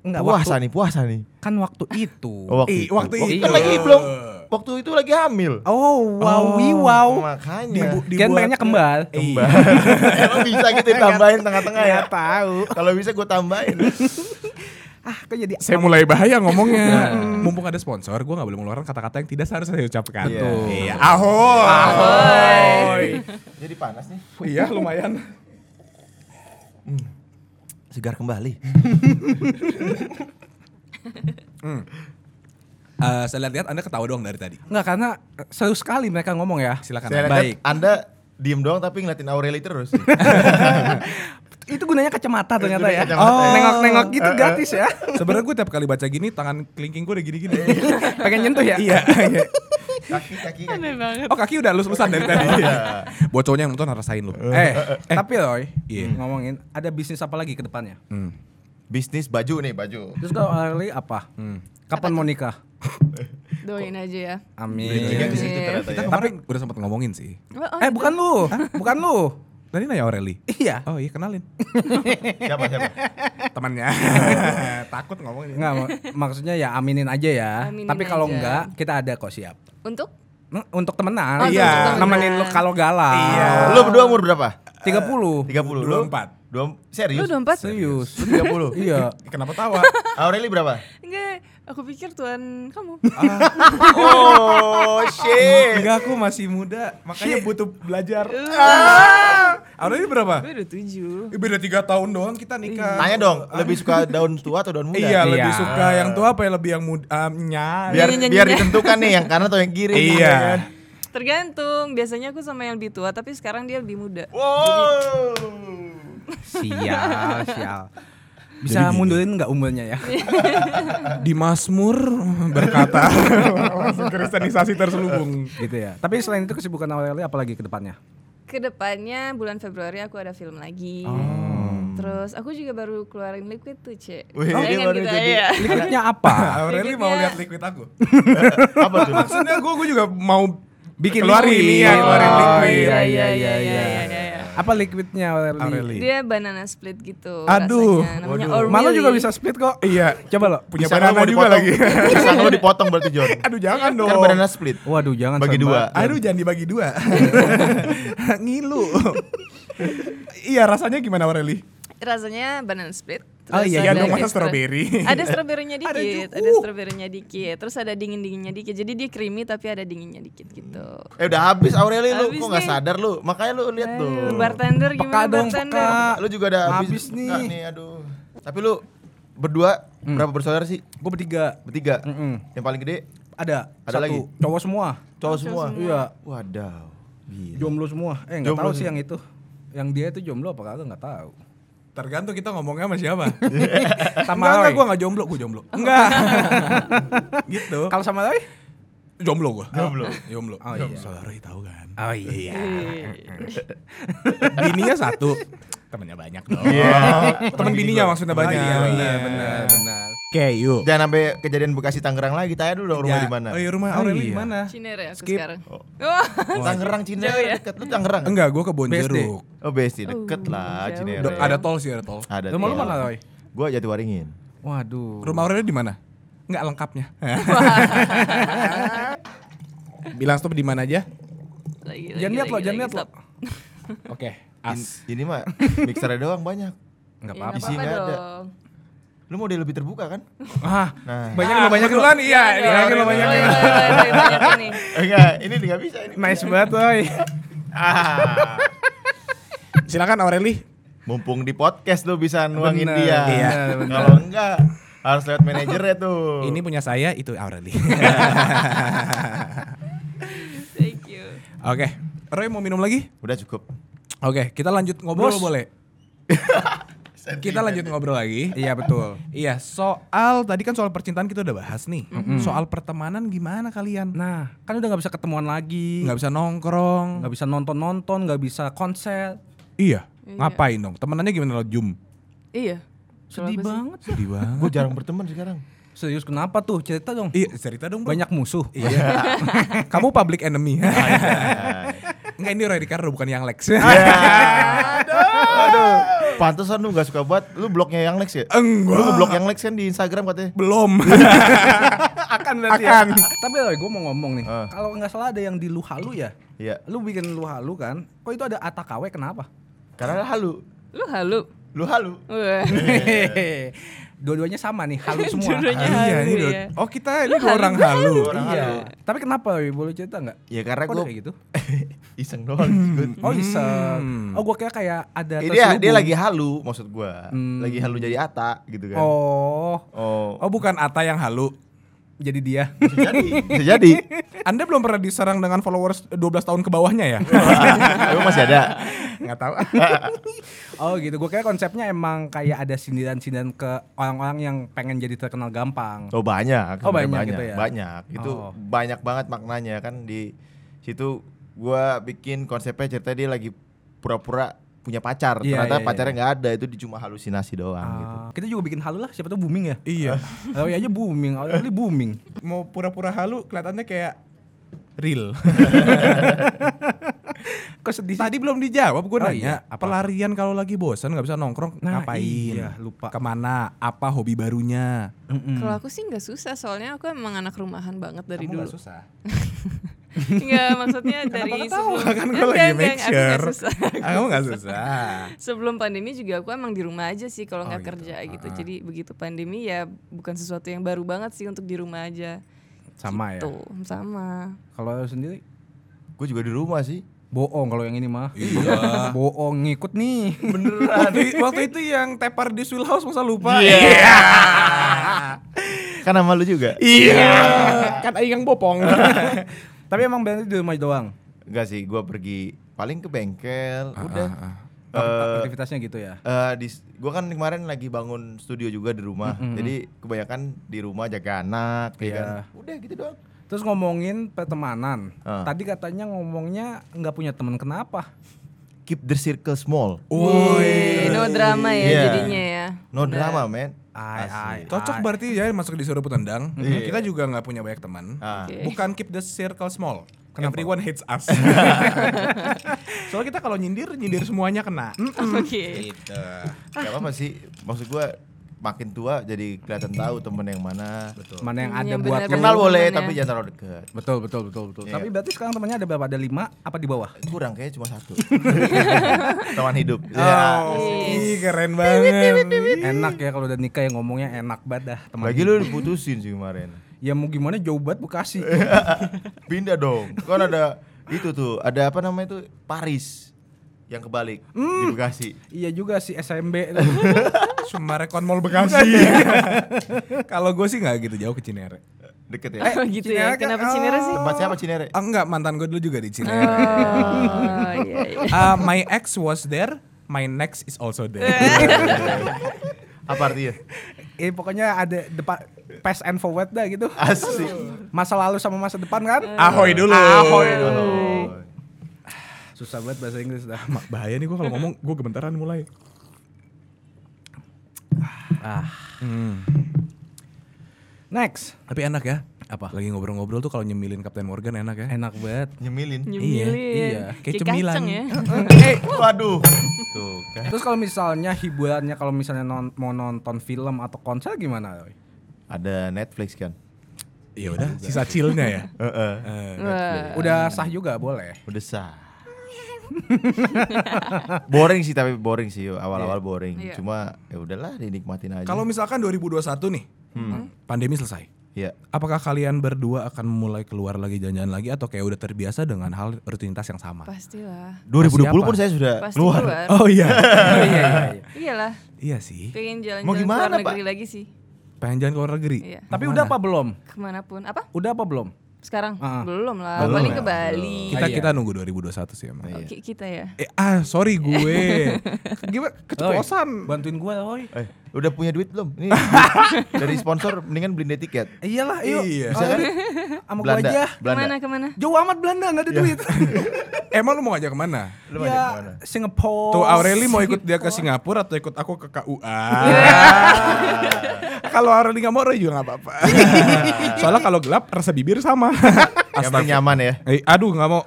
Speaker 3: Enggak waktu,
Speaker 5: puasa nih puasa nih
Speaker 3: kan waktu itu.
Speaker 5: Oh,
Speaker 4: Ih, waktu itu.
Speaker 5: kan lagi belum waktu itu lagi hamil
Speaker 3: Oh, wow,
Speaker 4: Oh.
Speaker 3: wow.
Speaker 5: makanya
Speaker 4: Dibu-
Speaker 3: Kan
Speaker 4: dibuat- Iya.
Speaker 3: pengennya kembal.
Speaker 5: Mbak. Emang bisa gitu tambahin tengah-tengah ya
Speaker 3: tahu.
Speaker 5: kalau bisa gue tambahin
Speaker 3: Ah, kok jadi
Speaker 4: Saya mulai bahaya ngomongnya. Mumpung ada sponsor, gua nggak boleh mengeluarkan kata-kata yang tidak seharusnya saya ucapkan. Iya.
Speaker 5: Iya.
Speaker 4: Ahoy. Ahoy.
Speaker 5: jadi panas nih
Speaker 4: Iya, lumayan.
Speaker 5: segar kembali
Speaker 4: Eh, saya lihat-lihat Anda ketawa doang dari tadi.
Speaker 3: Enggak karena eh, seru sekali mereka ngomong ya.
Speaker 4: Silakan.
Speaker 5: saya
Speaker 4: Baik.
Speaker 5: lihat anda diem doang tapi ngeliatin Aureli terus
Speaker 3: Itu gunanya kacamata ternyata ya.
Speaker 5: kacamata
Speaker 4: ya. eh.
Speaker 3: nengok-nengok gitu gratis ya.
Speaker 4: Sebenarnya gue tiap kali baca gini tangan kelingking gue udah gini-gini.
Speaker 3: Pengen nyentuh ya?
Speaker 4: iya. iya.
Speaker 5: kaki kaki kaki.
Speaker 1: Aneh banget.
Speaker 4: Oh kaki udah lus-lusan dari tadi.
Speaker 5: Iya.
Speaker 4: Buat cowoknya yang nonton rasain lu.
Speaker 3: eh, tapi Roy, hmm,
Speaker 4: Iya.
Speaker 3: ngomongin ada bisnis apa lagi ke depannya?
Speaker 4: Hmm.
Speaker 5: Bisnis baju nih baju.
Speaker 3: Terus kalau Arli apa? Kapan mau nikah?
Speaker 1: Doain aja ya.
Speaker 5: Bridging-nya
Speaker 3: Amin.
Speaker 5: ke situ ternyata
Speaker 4: Kita
Speaker 5: ya.
Speaker 4: kemarin udah sempat ngomongin sih.
Speaker 1: Wah, oh,
Speaker 3: Eh, bukan lu. bukan lu.
Speaker 4: Tadi nanya Aureli.
Speaker 3: Iya.
Speaker 4: Oh iya kenalin.
Speaker 5: Siapa siapa?
Speaker 4: Temannya. Takut ngomongin.
Speaker 3: Enggak, mak- maksudnya ya aminin aja ya.
Speaker 1: Aminin
Speaker 3: tapi kalau
Speaker 1: aja.
Speaker 3: enggak, kita ada kok siap.
Speaker 1: Untuk
Speaker 3: Hmm, Untuk
Speaker 1: Oh,
Speaker 3: temenan.
Speaker 1: untuk
Speaker 4: Iya. temenan.
Speaker 3: Nemenin lu kalau galau.
Speaker 4: Iya.
Speaker 5: Eh, Lu berdua umur berapa?
Speaker 3: 30.
Speaker 5: 30 lu?
Speaker 4: 24.
Speaker 5: Dua, serius?
Speaker 1: lu udah empat?
Speaker 3: Serius.
Speaker 5: Lu 30?
Speaker 3: iya.
Speaker 4: Kenapa tawa?
Speaker 5: Aureli berapa?
Speaker 1: Enggak, aku pikir tuan kamu.
Speaker 5: Oh shit.
Speaker 4: Enggak aku masih muda, makanya butuh belajar. Ah. Aureli berapa?
Speaker 1: Gue udah tujuh.
Speaker 4: Eh, Beda 3 tahun doang kita nikah.
Speaker 5: Iya. Tanya dong, lebih suka daun tua atau daun muda?
Speaker 4: Iya,
Speaker 3: Iya.
Speaker 4: lebih suka yang tua apa yang lebih yang muda? Um, nyari.
Speaker 5: Biar
Speaker 1: Nyanyi-nyanyi.
Speaker 5: biar ditentukan nih yang kanan atau yang kiri.
Speaker 4: Iya.
Speaker 1: Tergantung. Biasanya aku sama yang lebih tua, tapi sekarang dia lebih muda.
Speaker 5: Wow.
Speaker 3: Sial, sial. Bisa mundurin nggak umurnya ya?
Speaker 1: Iya.
Speaker 4: Di Masmur Iya. berkata langsung kristenisasi terselubung.
Speaker 3: gitu ya. Tapi selain itu kesibukan Aureli apalagi ke depannya?
Speaker 1: Kedepannya bulan Februari aku ada film lagi. Terus aku juga baru keluarin liquid tuh, Cek.
Speaker 5: Wih, dia
Speaker 1: Sayangan
Speaker 5: baru
Speaker 1: kita
Speaker 5: jadi-
Speaker 1: ya.
Speaker 3: Liquidnya apa?
Speaker 4: Ah, Aureli mau
Speaker 1: Berikutnya.
Speaker 4: lihat liquid aku.
Speaker 5: Apa tuh?
Speaker 4: Maksudnya gue gue juga mau
Speaker 3: Bikin
Speaker 4: keluarin
Speaker 3: liquid.
Speaker 4: iya, keluarin
Speaker 3: Oh,
Speaker 4: liquid.
Speaker 3: iya, iya, iya,
Speaker 1: iya, iya.
Speaker 3: Apa liquidnya Aureli?
Speaker 4: Aureli.
Speaker 1: Dia banana split gitu
Speaker 4: Aduh.
Speaker 1: rasanya. Namanya
Speaker 5: Waduh.
Speaker 1: Orwelli.
Speaker 3: Malu juga bisa split kok.
Speaker 4: Iya,
Speaker 3: Coba lo.
Speaker 4: punya
Speaker 5: Pisang lu
Speaker 4: banana
Speaker 5: mau
Speaker 4: juga
Speaker 5: dipotong.
Speaker 4: lagi.
Speaker 5: Pisang lu dipotong berarti John.
Speaker 4: Aduh jangan dong.
Speaker 5: Kan banana split.
Speaker 3: Waduh, jangan
Speaker 5: Bagi
Speaker 3: serem
Speaker 5: dua.
Speaker 3: banget.
Speaker 4: Aduh jangan dibagi dua. Ngilu. iya rasanya gimana Aureli?
Speaker 1: rasanya banana split.
Speaker 3: Oh, iya,
Speaker 4: iya
Speaker 1: ada
Speaker 4: dong,
Speaker 1: kayak
Speaker 4: masa
Speaker 1: stro-
Speaker 4: strawberry?
Speaker 1: Ada stroberinya
Speaker 4: Ada
Speaker 1: dikit,
Speaker 4: juga.
Speaker 1: ada,
Speaker 4: Uh.
Speaker 1: stroberinya dikit. Terus ada dingin-dinginnya dikit. Jadi dia creamy tapi ada dinginnya dikit gitu.
Speaker 5: Eh udah habis Aureli lu,
Speaker 1: Habis
Speaker 5: kok nggak
Speaker 1: nih.
Speaker 5: sadar lu? Makanya lu lihat tuh. Ah,
Speaker 1: Aduh, bartender
Speaker 3: Peka
Speaker 1: gimana
Speaker 3: dong,
Speaker 1: bartender?
Speaker 3: peka.
Speaker 5: Lu juga udah
Speaker 3: Habis nih.
Speaker 5: Nggak aduh. Tapi lu berdua
Speaker 4: Hmm.
Speaker 5: berapa bersaudara sih?
Speaker 3: Gue bertiga.
Speaker 5: Bertiga.
Speaker 3: Mm-mm.
Speaker 5: Yang paling gede
Speaker 3: Ada,
Speaker 5: Ada
Speaker 3: satu
Speaker 5: lagi?
Speaker 3: cowok semua.
Speaker 5: cowok semua.
Speaker 3: Iya.
Speaker 5: Wadaw. Gila.
Speaker 3: Jomblo semua. Eh, enggak
Speaker 5: Jomblo
Speaker 3: tahu sih
Speaker 5: semua.
Speaker 3: yang itu. Yang dia itu jomblo apa kagak enggak tahu.
Speaker 4: Tergantung kita ngomongnya sama siapa.
Speaker 3: Sama
Speaker 4: enggak, enggak,
Speaker 3: Roy.
Speaker 4: gue gak jomblo, gue jomblo. Enggak. gitu.
Speaker 3: Kalau sama Roy?
Speaker 4: Jomblo gue.
Speaker 5: Jomblo.
Speaker 4: Jomblo.
Speaker 3: Oh, iya.
Speaker 4: Sorry tahu kan.
Speaker 3: Oh iya.
Speaker 4: Bininya satu. Temennya banyak dong. Temen bininya maksudnya banyak.
Speaker 3: Iya, benar, benar,
Speaker 4: Ya,
Speaker 3: benar.
Speaker 4: Oke, yuk.
Speaker 5: Jangan sampai kejadian Bekasi Tangerang lagi. Tanya dulu dong rumah
Speaker 4: Ya.
Speaker 5: di mana.
Speaker 4: Oh, iya,
Speaker 3: Oh,
Speaker 4: rumah
Speaker 3: iya.
Speaker 4: Aureli di mana?
Speaker 1: Cinere aku
Speaker 4: Skip.
Speaker 1: ya, sekarang.
Speaker 5: Oh.
Speaker 1: Wah,
Speaker 5: Tangerang Cinere dekat lu Tangerang.
Speaker 4: Enggak, gue
Speaker 3: BSD.
Speaker 4: ke Bonjeruk.
Speaker 5: Oh, BSD deket lah
Speaker 1: jauh.
Speaker 5: Cinere.
Speaker 4: Do- Ada tol sih, ada tol.
Speaker 5: Ada.
Speaker 3: Rumah lu
Speaker 5: tol.
Speaker 3: mana, Roy?
Speaker 5: Gua Jatiwaringin.
Speaker 3: Waduh.
Speaker 4: Rumah Aureli di mana? Enggak lengkapnya. Bilang stop di mana aja?
Speaker 1: lagi lagi.
Speaker 3: Jangan lihat lo,
Speaker 1: lagi,
Speaker 3: jangan
Speaker 1: lagi,
Speaker 3: lihat lo.
Speaker 1: stop.
Speaker 4: Oke.
Speaker 5: As. Ini mah mixernya doang banyak.
Speaker 3: Enggak
Speaker 1: Ya,
Speaker 3: apa-apa.
Speaker 5: Isi
Speaker 1: apa-apa
Speaker 5: nggak ada.
Speaker 1: dong.
Speaker 5: Lu mau dia lebih terbuka kan?
Speaker 3: Ah,
Speaker 5: Nah.
Speaker 3: banyak
Speaker 4: Banyak
Speaker 3: lo banyak lo.
Speaker 4: kebetulan
Speaker 1: Eh,
Speaker 4: iya, banyak lo
Speaker 1: Boleh,
Speaker 4: banyak.
Speaker 1: boleh, boleh, boleh, banyak ini.
Speaker 5: Eh, Enggak, ini nggak bisa ini.
Speaker 3: Nice banget, Roy.
Speaker 5: Ah.
Speaker 4: Silakan Aureli.
Speaker 5: Mumpung di podcast lu bisa nuangin
Speaker 3: Bener,
Speaker 5: dia.
Speaker 3: iya, bener.
Speaker 5: Kalau enggak harus lewat manajernya tuh.
Speaker 4: Ini punya saya, itu Aureli.
Speaker 1: Thank you.
Speaker 4: Oke, Roy mau minum lagi?
Speaker 5: udah cukup.
Speaker 4: Oke, kita lanjut ngobrol
Speaker 3: Bos.
Speaker 4: boleh? kita lanjut ngobrol lagi.
Speaker 3: Iya, betul.
Speaker 4: Iya, soal tadi kan soal percintaan kita udah bahas nih. Soal pertemanan gimana kalian?
Speaker 3: Nah, kan udah nggak bisa ketemuan lagi,
Speaker 4: Nggak bisa nongkrong.
Speaker 3: nggak bisa nonton nonton, nggak bisa konser.
Speaker 4: Iya.
Speaker 1: Iya.
Speaker 4: Ngapain dong? Temenannya gimana lo Jum?
Speaker 1: Iya.
Speaker 3: Sedih
Speaker 1: Kenapa sih?
Speaker 3: banget.
Speaker 4: Sedih banget.
Speaker 5: Gue jarang berteman sekarang.
Speaker 3: Serius kenapa tuh? Cerita dong.
Speaker 4: iya, cerita dong, Bro.
Speaker 3: Banyak musuh.
Speaker 4: Iya. Kamu public enemy. Enggak ini Roy Ricardo bukan yang Lex.
Speaker 3: Iya.
Speaker 5: Aduh. Pantesan lu gak suka banget. Lu blognya yang Lex ya?
Speaker 4: Enggak.
Speaker 5: Lu blog yang Lex kan di Instagram katanya.
Speaker 4: Belum.
Speaker 3: Akan
Speaker 4: berarti ya.
Speaker 3: Akan. Tapi Roy, gue mau ngomong nih.
Speaker 5: Ah.
Speaker 3: Kalau nggak salah ada yang di lu halu ya.
Speaker 5: Iya.
Speaker 3: Lu bikin lu halu kan? Kok itu ada atakawe kenapa?
Speaker 5: Karena lu halu.
Speaker 1: Lu halu.
Speaker 5: Lu halu.
Speaker 1: Wah.
Speaker 5: Iya.
Speaker 3: Dua-duanya sama nih, halu semua.
Speaker 1: Dua-duanya
Speaker 4: iya,
Speaker 1: halu,
Speaker 4: ini dua-
Speaker 1: iya.
Speaker 4: Oh, kita ini dua orang halu.
Speaker 5: Dua orang halu.
Speaker 3: Iya. Tapi kenapa Roy? Boleh cerita nggak?
Speaker 5: Ya karena
Speaker 3: Kok
Speaker 5: gue
Speaker 3: ada kayak gitu?
Speaker 5: iseng doang. Good.
Speaker 3: Oh iseng. Oh gue kira kayak ada
Speaker 5: Eh, dia, dia
Speaker 3: terselubung.
Speaker 5: lagi halu maksud gua.
Speaker 3: Hmm.
Speaker 5: Lagi halu jadi Ata gitu kan.
Speaker 3: Oh.
Speaker 5: Oh.
Speaker 4: Oh, bukan Ata yang halu.
Speaker 3: jadi dia.
Speaker 5: Bisa jadi. Bisa jadi.
Speaker 4: Anda belum pernah diserang dengan followers 12 tahun ke bawahnya ya?
Speaker 5: Emang masih ada.
Speaker 4: Nggak tahu.
Speaker 3: oh gitu. Gue kira konsepnya emang kayak ada sindiran-sindiran ke orang-orang yang pengen jadi terkenal gampang.
Speaker 5: Oh banyak.
Speaker 3: Oh, banyak
Speaker 5: banyak
Speaker 3: gitu ya?
Speaker 5: Banyak. Itu
Speaker 3: Oh.
Speaker 5: banyak banget maknanya kan di situ gua bikin konsepnya cerita dia lagi pura-pura punya pacar.
Speaker 3: Iya,
Speaker 5: Ternyata
Speaker 3: iya, iya.
Speaker 5: pacarnya nggak ada, itu di- cuma halusinasi doang gitu.
Speaker 3: Ah, Kita juga bikin halu lah, siapa tuh booming ya.
Speaker 4: iya.
Speaker 3: Lalu aja booming, awalnya booming.
Speaker 4: Mau pura-pura halu kelihatannya kayak real.
Speaker 3: Kok sedih sih?
Speaker 4: Tadi belum dijawab gue
Speaker 3: Oh
Speaker 4: nanya.
Speaker 3: iya, apa?
Speaker 4: Pelarian kalau lagi bosan nggak bisa nongkrong
Speaker 3: Nah,
Speaker 4: ngapain?
Speaker 3: iya, lupa.
Speaker 4: Kemana? Apa hobi barunya?
Speaker 3: Mm-mm.
Speaker 1: Kalau aku sih nggak susah, soalnya aku emang anak rumahan banget dari
Speaker 4: Kamu nggak
Speaker 1: dulu.
Speaker 4: susah.
Speaker 1: Nggak, maksudnya dari
Speaker 4: Tahu
Speaker 1: sebelum
Speaker 4: kan gue
Speaker 1: Nggak,
Speaker 4: lagi
Speaker 1: nggak,
Speaker 4: make
Speaker 1: aku nggak
Speaker 4: sure.
Speaker 1: susah.
Speaker 4: Kamu nggak susah.
Speaker 1: Sebelum pandemi juga aku emang di rumah aja sih kalau
Speaker 4: Oh,
Speaker 1: nggak
Speaker 4: gitu.
Speaker 1: kerja gitu.
Speaker 4: Ah, ah.
Speaker 1: Jadi begitu pandemi ya bukan sesuatu yang baru banget sih untuk di rumah aja.
Speaker 3: Sama ya.
Speaker 1: Tuh, sama.
Speaker 3: Kalau lu sendiri
Speaker 5: Gue juga di rumah sih.
Speaker 3: bohong kalau yang ini mah.
Speaker 4: Iya.
Speaker 3: bohong ngikut nih.
Speaker 4: Beneran. waktu, waktu itu yang tepar di Swill House masa lupa.
Speaker 5: Iya. Kan sama lu juga.
Speaker 4: Iya. kan aing yang bopong.
Speaker 3: Tapi emang berarti di rumah doang.
Speaker 5: Enggak sih, gua pergi paling ke bengkel, udah.
Speaker 4: ah, ah.
Speaker 5: Eh,
Speaker 3: Aktivitasnya gitu ya.
Speaker 5: Eh, di, gue kan kemarin lagi bangun studio juga di rumah, jadi kebanyakan di rumah jaga anak, ya
Speaker 3: Iya.
Speaker 5: kan? Udah gitu doang.
Speaker 3: Terus ngomongin pertemanan.
Speaker 5: Ah.
Speaker 3: Tadi katanya ngomongnya nggak punya teman kenapa?
Speaker 5: Keep the circle small,
Speaker 3: Oh,
Speaker 1: Eh, no drama ya
Speaker 5: Iya.
Speaker 1: jadinya ya.
Speaker 5: no drama, man.
Speaker 3: Ai, ai,
Speaker 1: Nah.
Speaker 3: ai.
Speaker 4: Cocok berarti ya masuk di suruh tendang.
Speaker 5: Iya.
Speaker 4: Kita juga nggak punya banyak teman.
Speaker 5: Ah.
Speaker 1: Oke.
Speaker 4: Bukan keep the circle small. Everyone hates us. Soalnya kita kalau nyindir, nyindir semuanya kena. Mm.
Speaker 1: Oke.
Speaker 4: Gitu.
Speaker 5: Gak apa-apa sih. Maksud gue makin tua jadi kelihatan tahu temen yang mana.
Speaker 3: Mana yang
Speaker 1: Yang
Speaker 3: ada buat
Speaker 1: benar-benar
Speaker 3: lu?
Speaker 5: Kenal boleh
Speaker 1: temennya.
Speaker 5: tapi jangan terlalu dekat.
Speaker 3: Betul betul betul betul.
Speaker 5: Iya.
Speaker 3: Tapi berarti sekarang temannya ada berapa? Ada lima? Apa di bawah?
Speaker 5: Kurang kayaknya cuma satu. Teman hidup. Iya.
Speaker 4: Oh, ih, keren banget.
Speaker 3: enak ya kalau udah nikah yang ngomongnya enak banget dah teman.
Speaker 5: Lagi lu diputusin sih kemarin.
Speaker 3: Ya mau gimana jauh banget Bekasi.
Speaker 5: Pindah dong. Kan ada itu tuh, ada apa namanya tuh Paris yang kebalik di Bekasi.
Speaker 3: iya juga sih SMB.
Speaker 4: Summarecon Mall Bekasi. kalau gue sih nggak gitu jauh ke Cinere.
Speaker 5: Deket ya.
Speaker 1: Oh, gitu ya.
Speaker 4: Cinere kan,
Speaker 1: Kenapa Cinere sih?
Speaker 5: Tempat siapa
Speaker 1: Eh.
Speaker 5: Cinere?
Speaker 4: Ah, enggak, mantan gue dulu juga di Cinere.
Speaker 1: Ah. Oh, iya, iya.
Speaker 4: Ah, my ex was there, my next is also there.
Speaker 1: Eh.
Speaker 5: Apa artinya?
Speaker 3: eh pokoknya ada depan past and forward dah gitu.
Speaker 5: Asli.
Speaker 3: Masa lalu sama masa depan kan?
Speaker 4: Ahoy dulu.
Speaker 3: Ahoy dulu. Susah banget bahasa Inggris dah.
Speaker 4: Ma- bahaya nih gue kalau ngomong gue gemetaran mulai.
Speaker 3: Next.
Speaker 4: Tapi enak ya. Apa? Lagi ngobrol-ngobrol tuh kalau nyemilin Captain Morgan enak ya.
Speaker 3: Enak banget.
Speaker 5: Nyemilin. Eh,
Speaker 1: Nyemilin.
Speaker 4: iya. Kayak cemilan.
Speaker 1: kacang ya.
Speaker 5: Waduh. Tuh kan.
Speaker 3: Terus kalau misalnya hiburannya kalau misalnya non- mau nonton film atau konser gimana? Roy?
Speaker 5: Ada Netflix kan?
Speaker 4: Iya udah, sisa chillnya ya.
Speaker 5: Heeh.
Speaker 1: Wah.
Speaker 3: Udah sah juga boleh.
Speaker 5: Udah sah. boring sih tapi boring sih awal-awal boring.
Speaker 1: Iya.
Speaker 5: Cuma ya udahlah dinikmatin aja.
Speaker 4: Kalau misalkan 2021 nih,
Speaker 3: Hmm.
Speaker 4: Hmm. pandemi selesai.
Speaker 5: ya
Speaker 4: Apakah kalian berdua akan mulai keluar lagi jalan-jalan lagi atau kayak udah terbiasa dengan hal rutinitas yang sama?
Speaker 1: Pastilah.
Speaker 5: 2020
Speaker 4: Pasti apa?
Speaker 5: pun saya sudah
Speaker 1: Pasti
Speaker 5: keluar.
Speaker 1: keluar.
Speaker 4: Oh iya.
Speaker 3: Oh, iya, iya, iya.
Speaker 1: Iyalah,
Speaker 4: iya sih.
Speaker 1: pengen
Speaker 5: Mau
Speaker 1: jalan-jalan ke
Speaker 5: gimana,
Speaker 1: luar
Speaker 5: Pak?
Speaker 1: negeri lagi sih.
Speaker 4: Pengen jalan keluar negeri.
Speaker 1: Iya.
Speaker 3: Tapi udah apa belum?
Speaker 1: Kemanapun. Apa?
Speaker 3: Udah apa belum?
Speaker 1: Sekarang?
Speaker 3: Ah.
Speaker 1: Belum lah.
Speaker 5: Belum
Speaker 1: Paling
Speaker 5: ya?
Speaker 1: ke Bali.
Speaker 4: Kita
Speaker 3: Ah, iya.
Speaker 4: kita nunggu 2021 sih emang.
Speaker 1: Ki- Kita ya.
Speaker 4: Eh, ah, sorry gue.
Speaker 3: Oh, iya.
Speaker 4: Gimana?
Speaker 3: Keceplosan. Bantuin gua, Roy.
Speaker 5: Eh, udah punya duit belum? Ini dari sponsor mendingan beliin deh tiket.
Speaker 3: Iyalah, yuk.
Speaker 4: Iya.
Speaker 3: Bisa kan? Sama gua
Speaker 5: Belanda.
Speaker 3: aja.
Speaker 1: Kemana
Speaker 5: Belanda.
Speaker 1: kemana?
Speaker 3: Jauh amat Belanda nggak ada duit.
Speaker 4: Emang lu mau ngajak kemana?
Speaker 5: Lu
Speaker 3: ya,
Speaker 5: banyak kemana?
Speaker 3: Singapore.
Speaker 4: Tuh Aureli mau ikut dia ke Singapura atau ikut aku ke KUA. Kalau Aureli nggak mau Roy juga nggak apa-apa. Soalnya kalau gelap rasa bibir sama.
Speaker 5: Yang penting nyaman ya.
Speaker 4: Eh, aduh nggak mau.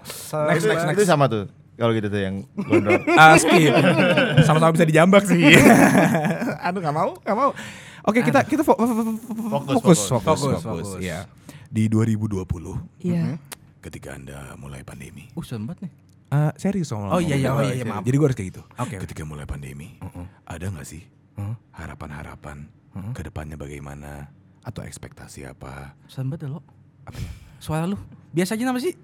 Speaker 4: Next
Speaker 5: itu,
Speaker 4: next next.
Speaker 5: itu sama tuh. Kalau gitu tuh yang gondrong.
Speaker 4: Ah, skip. Sama-sama bisa dijambak sih. aduh nggak mau nggak mau. Oke kita kita fo- fo- fo- fo-
Speaker 5: Fokus,
Speaker 4: fokus
Speaker 5: fokus.
Speaker 4: fokus
Speaker 3: Fokus,
Speaker 4: fokus.
Speaker 3: fokus.
Speaker 4: Iya. Di 2020
Speaker 1: Iya.
Speaker 5: Mm-hmm.
Speaker 4: ketika anda mulai pandemi.
Speaker 3: Uh, sempat nih.
Speaker 4: Eh, serius soal
Speaker 3: Oh, iya, iya, oh, iya, iya, maaf.
Speaker 4: Jadi gue harus kayak gitu.
Speaker 3: Oke.
Speaker 4: Ketika mulai pandemi, ada nggak sih harapan-harapan ke depannya bagaimana atau ekspektasi apa?
Speaker 3: Sempat ya lo. Suara lu. Biasa aja nama sih?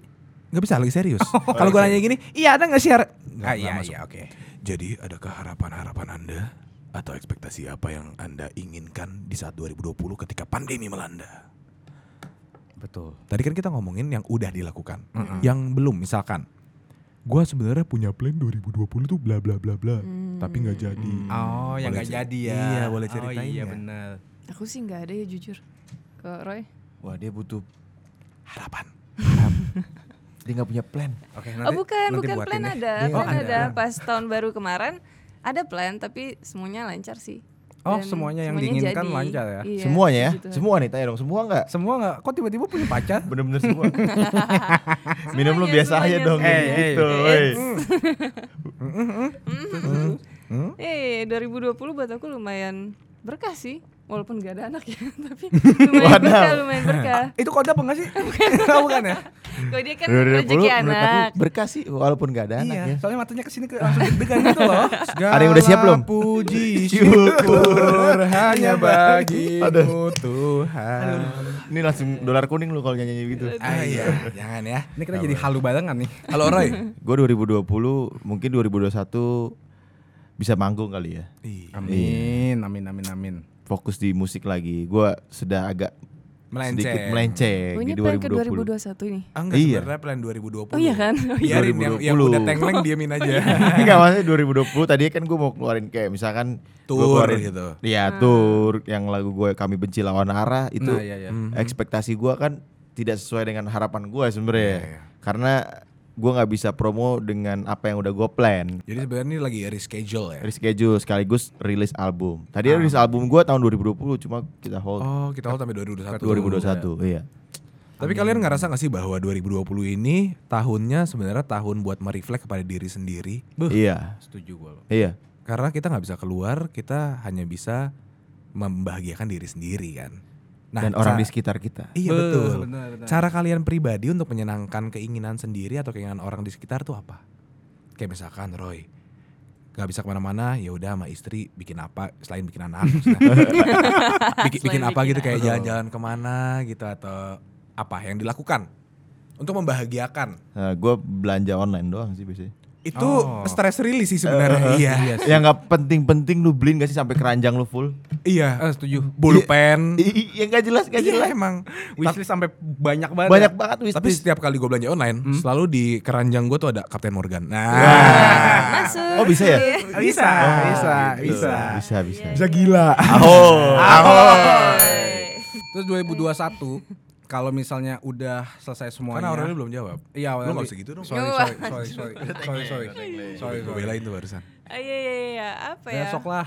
Speaker 4: Nggak bisa lagi serius. Kalau gue nanya gini, iya ada nggak sih? har- Nggak,
Speaker 3: Ah,
Speaker 4: nggak
Speaker 3: iya,
Speaker 4: masuk.
Speaker 3: iya, oke.
Speaker 4: Jadi adakah harapan-harapan anda atau ekspektasi apa yang anda inginkan di saat 2020 ketika pandemi melanda?
Speaker 3: Betul.
Speaker 4: Tadi kan kita ngomongin yang udah dilakukan, yang belum misalkan. Gua sebenarnya punya plan 2020 tuh bla bla bla bla, tapi nggak jadi.
Speaker 3: Oh, yang
Speaker 4: Boleh
Speaker 3: nggak
Speaker 4: cer-
Speaker 3: jadi ya.
Speaker 4: Iya, boleh
Speaker 3: Oh,
Speaker 4: ceritain
Speaker 3: iya,
Speaker 4: ya.
Speaker 3: benar.
Speaker 1: Aku sih nggak ada ya jujur. Ke Roy.
Speaker 5: Wah dia butuh
Speaker 4: Harapan.
Speaker 5: dia nggak punya plan.
Speaker 3: Oke,
Speaker 1: oh bukan, bukan
Speaker 4: buatin
Speaker 3: ya.
Speaker 1: plan
Speaker 4: deh.
Speaker 1: ada.
Speaker 4: Iya,
Speaker 1: Plan
Speaker 4: ada.
Speaker 1: ada. Pas tahun baru kemarin ada plan tapi semuanya lancar sih.
Speaker 3: Oh, semuanya yang diinginkan lancar ya?
Speaker 1: Iya,
Speaker 5: semuanya ya,
Speaker 1: puji Tuhan.
Speaker 5: semua nih tanya dong semua nggak?
Speaker 3: Semua nggak, kok tiba-tiba punya pacar?
Speaker 5: Bener-bener semua. Minum lu
Speaker 1: Semuanya,
Speaker 5: biasa aja
Speaker 1: semuanya,
Speaker 5: dong
Speaker 3: semuanya.
Speaker 5: kayak
Speaker 3: Eh,
Speaker 5: gitu.
Speaker 1: eh,
Speaker 5: woi.
Speaker 3: Hmm?
Speaker 1: Eh, 2020 buat aku lumayan berkah sih. Walaupun gak ada anak ya, tapi lumayan
Speaker 5: Waduh.
Speaker 1: berkah, lumayan berkah.
Speaker 3: Itu kode apa nggak sih? Bukan ya?
Speaker 1: Kalau dia kan
Speaker 5: 2020
Speaker 1: rezeki
Speaker 5: menurut aku
Speaker 1: anak.
Speaker 5: berkah sih walaupun nggak
Speaker 4: Kan,
Speaker 5: ada anak ya.
Speaker 3: Iya, soalnya matanya kesini ke langsung deg-degan gitu loh.
Speaker 5: Ada yang udah siap belum?
Speaker 4: Segala Puji syukur
Speaker 3: Iya,
Speaker 4: hanya
Speaker 3: kan?
Speaker 4: bagimu Tuhan.
Speaker 5: Ini langsung dolar kuning lu kalau nyanyi gitu.
Speaker 4: Ah, iya, jangan ya.
Speaker 3: Ini kita jadi halu barengan nih.
Speaker 4: Halo Roy.
Speaker 5: Gue 2020 mungkin 2021 bisa manggung kali ya.
Speaker 4: Iya.
Speaker 3: Amin, amin, amin, amin.
Speaker 5: Fokus di musik lagi. Gue sudah agak
Speaker 4: Melenceng.
Speaker 5: sedikit melenceng
Speaker 1: Oh, ini
Speaker 5: di
Speaker 1: plan ke
Speaker 5: 2020.
Speaker 1: 2021 nih.
Speaker 4: Ah, enggak
Speaker 5: Iya.
Speaker 4: sebenarnya plan 2020.
Speaker 1: Oh iya kan?
Speaker 4: Biarin yang, yang
Speaker 5: 2020.
Speaker 4: udah tengleng diamin aja.
Speaker 5: Enggak maksudnya 2020 tadi kan gue mau keluarin kayak misalkan gua
Speaker 4: Tour
Speaker 5: keluarin,
Speaker 4: gitu.
Speaker 5: Iya tour yang lagu gue kami benci lawan arah itu
Speaker 3: Nah, iya, iya.
Speaker 5: ekspektasi gue kan tidak sesuai dengan harapan gue sebenarnya karena gue nggak bisa promo dengan apa yang udah gue plan
Speaker 4: Jadi sebenarnya ini lagi reschedule ya.
Speaker 5: reschedule sekaligus rilis album tadi rilis album gue tahun 2020 cuma kita hold
Speaker 4: Oh, kita hold sampai 2021.
Speaker 5: 2021 iya
Speaker 4: Tapi kalian ngerasa gak sih bahwa 2020 ini tahunnya sebenarnya tahun buat mereflek kepada diri sendiri?
Speaker 5: iya
Speaker 3: Setuju gue loh.
Speaker 5: iya
Speaker 4: Karena kita nggak bisa keluar, kita hanya bisa membahagiakan diri sendiri kan. Nah,
Speaker 5: dan
Speaker 4: cara-
Speaker 5: orang di sekitar kita
Speaker 4: Iya
Speaker 3: Beuh,
Speaker 4: betul.
Speaker 3: benar, benar.
Speaker 4: Cara kalian pribadi untuk menyenangkan keinginan sendiri atau keinginan orang di sekitar tuh apa? Kayak misalkan Roy nggak bisa kemana-mana, ya udah sama istri bikin apa selain bikin anak, maksudnya. bikin,
Speaker 1: Selain
Speaker 4: bikin apa
Speaker 1: bikin
Speaker 4: gitu kayak
Speaker 1: anak.
Speaker 4: jalan-jalan kemana gitu atau apa yang dilakukan untuk membahagiakan
Speaker 5: nah, gue belanja online doang sih biasanya
Speaker 4: itu
Speaker 3: Oh.
Speaker 4: stress release sih sebenarnya. iya,
Speaker 5: yang nggak penting-penting lu beliin gak sih sampai keranjang lu full
Speaker 4: iya.
Speaker 3: Eh, setuju.
Speaker 4: Bulpen.
Speaker 5: Iya nggak jelas nggak
Speaker 4: Iya
Speaker 5: jelas
Speaker 4: emang.
Speaker 3: Wishlist sampai banyak banget.
Speaker 5: banyak
Speaker 3: ya.
Speaker 5: banget Iya.
Speaker 4: Tapi
Speaker 5: wishlist
Speaker 4: setiap kali gue belanja online, selalu di keranjang gue tuh ada Kapten Morgan.
Speaker 1: Nah,
Speaker 4: Nah,
Speaker 1: Masuk. Iya.
Speaker 5: Oh, bisa ya?
Speaker 3: Bisa,
Speaker 4: Ah,
Speaker 3: bisa,
Speaker 5: Gitu.
Speaker 3: bisa.
Speaker 5: bisa bisa
Speaker 4: bisa gila.
Speaker 5: oh
Speaker 3: Terus 2021 kalau misalnya udah selesai semuanya.
Speaker 4: Karena orangnya belum jawab.
Speaker 3: Iya,
Speaker 4: Lu
Speaker 3: awalnya
Speaker 4: nggak
Speaker 3: bi-
Speaker 4: usah gitu dong.
Speaker 3: Sorry,
Speaker 1: Nggak
Speaker 3: sorry, sorry, sorry, sorry, sorry, sorry,
Speaker 4: Gue
Speaker 3: sorry.
Speaker 4: belain tuh barusan.
Speaker 1: Ah, Iya iya iya apa ya?
Speaker 3: Besok lah.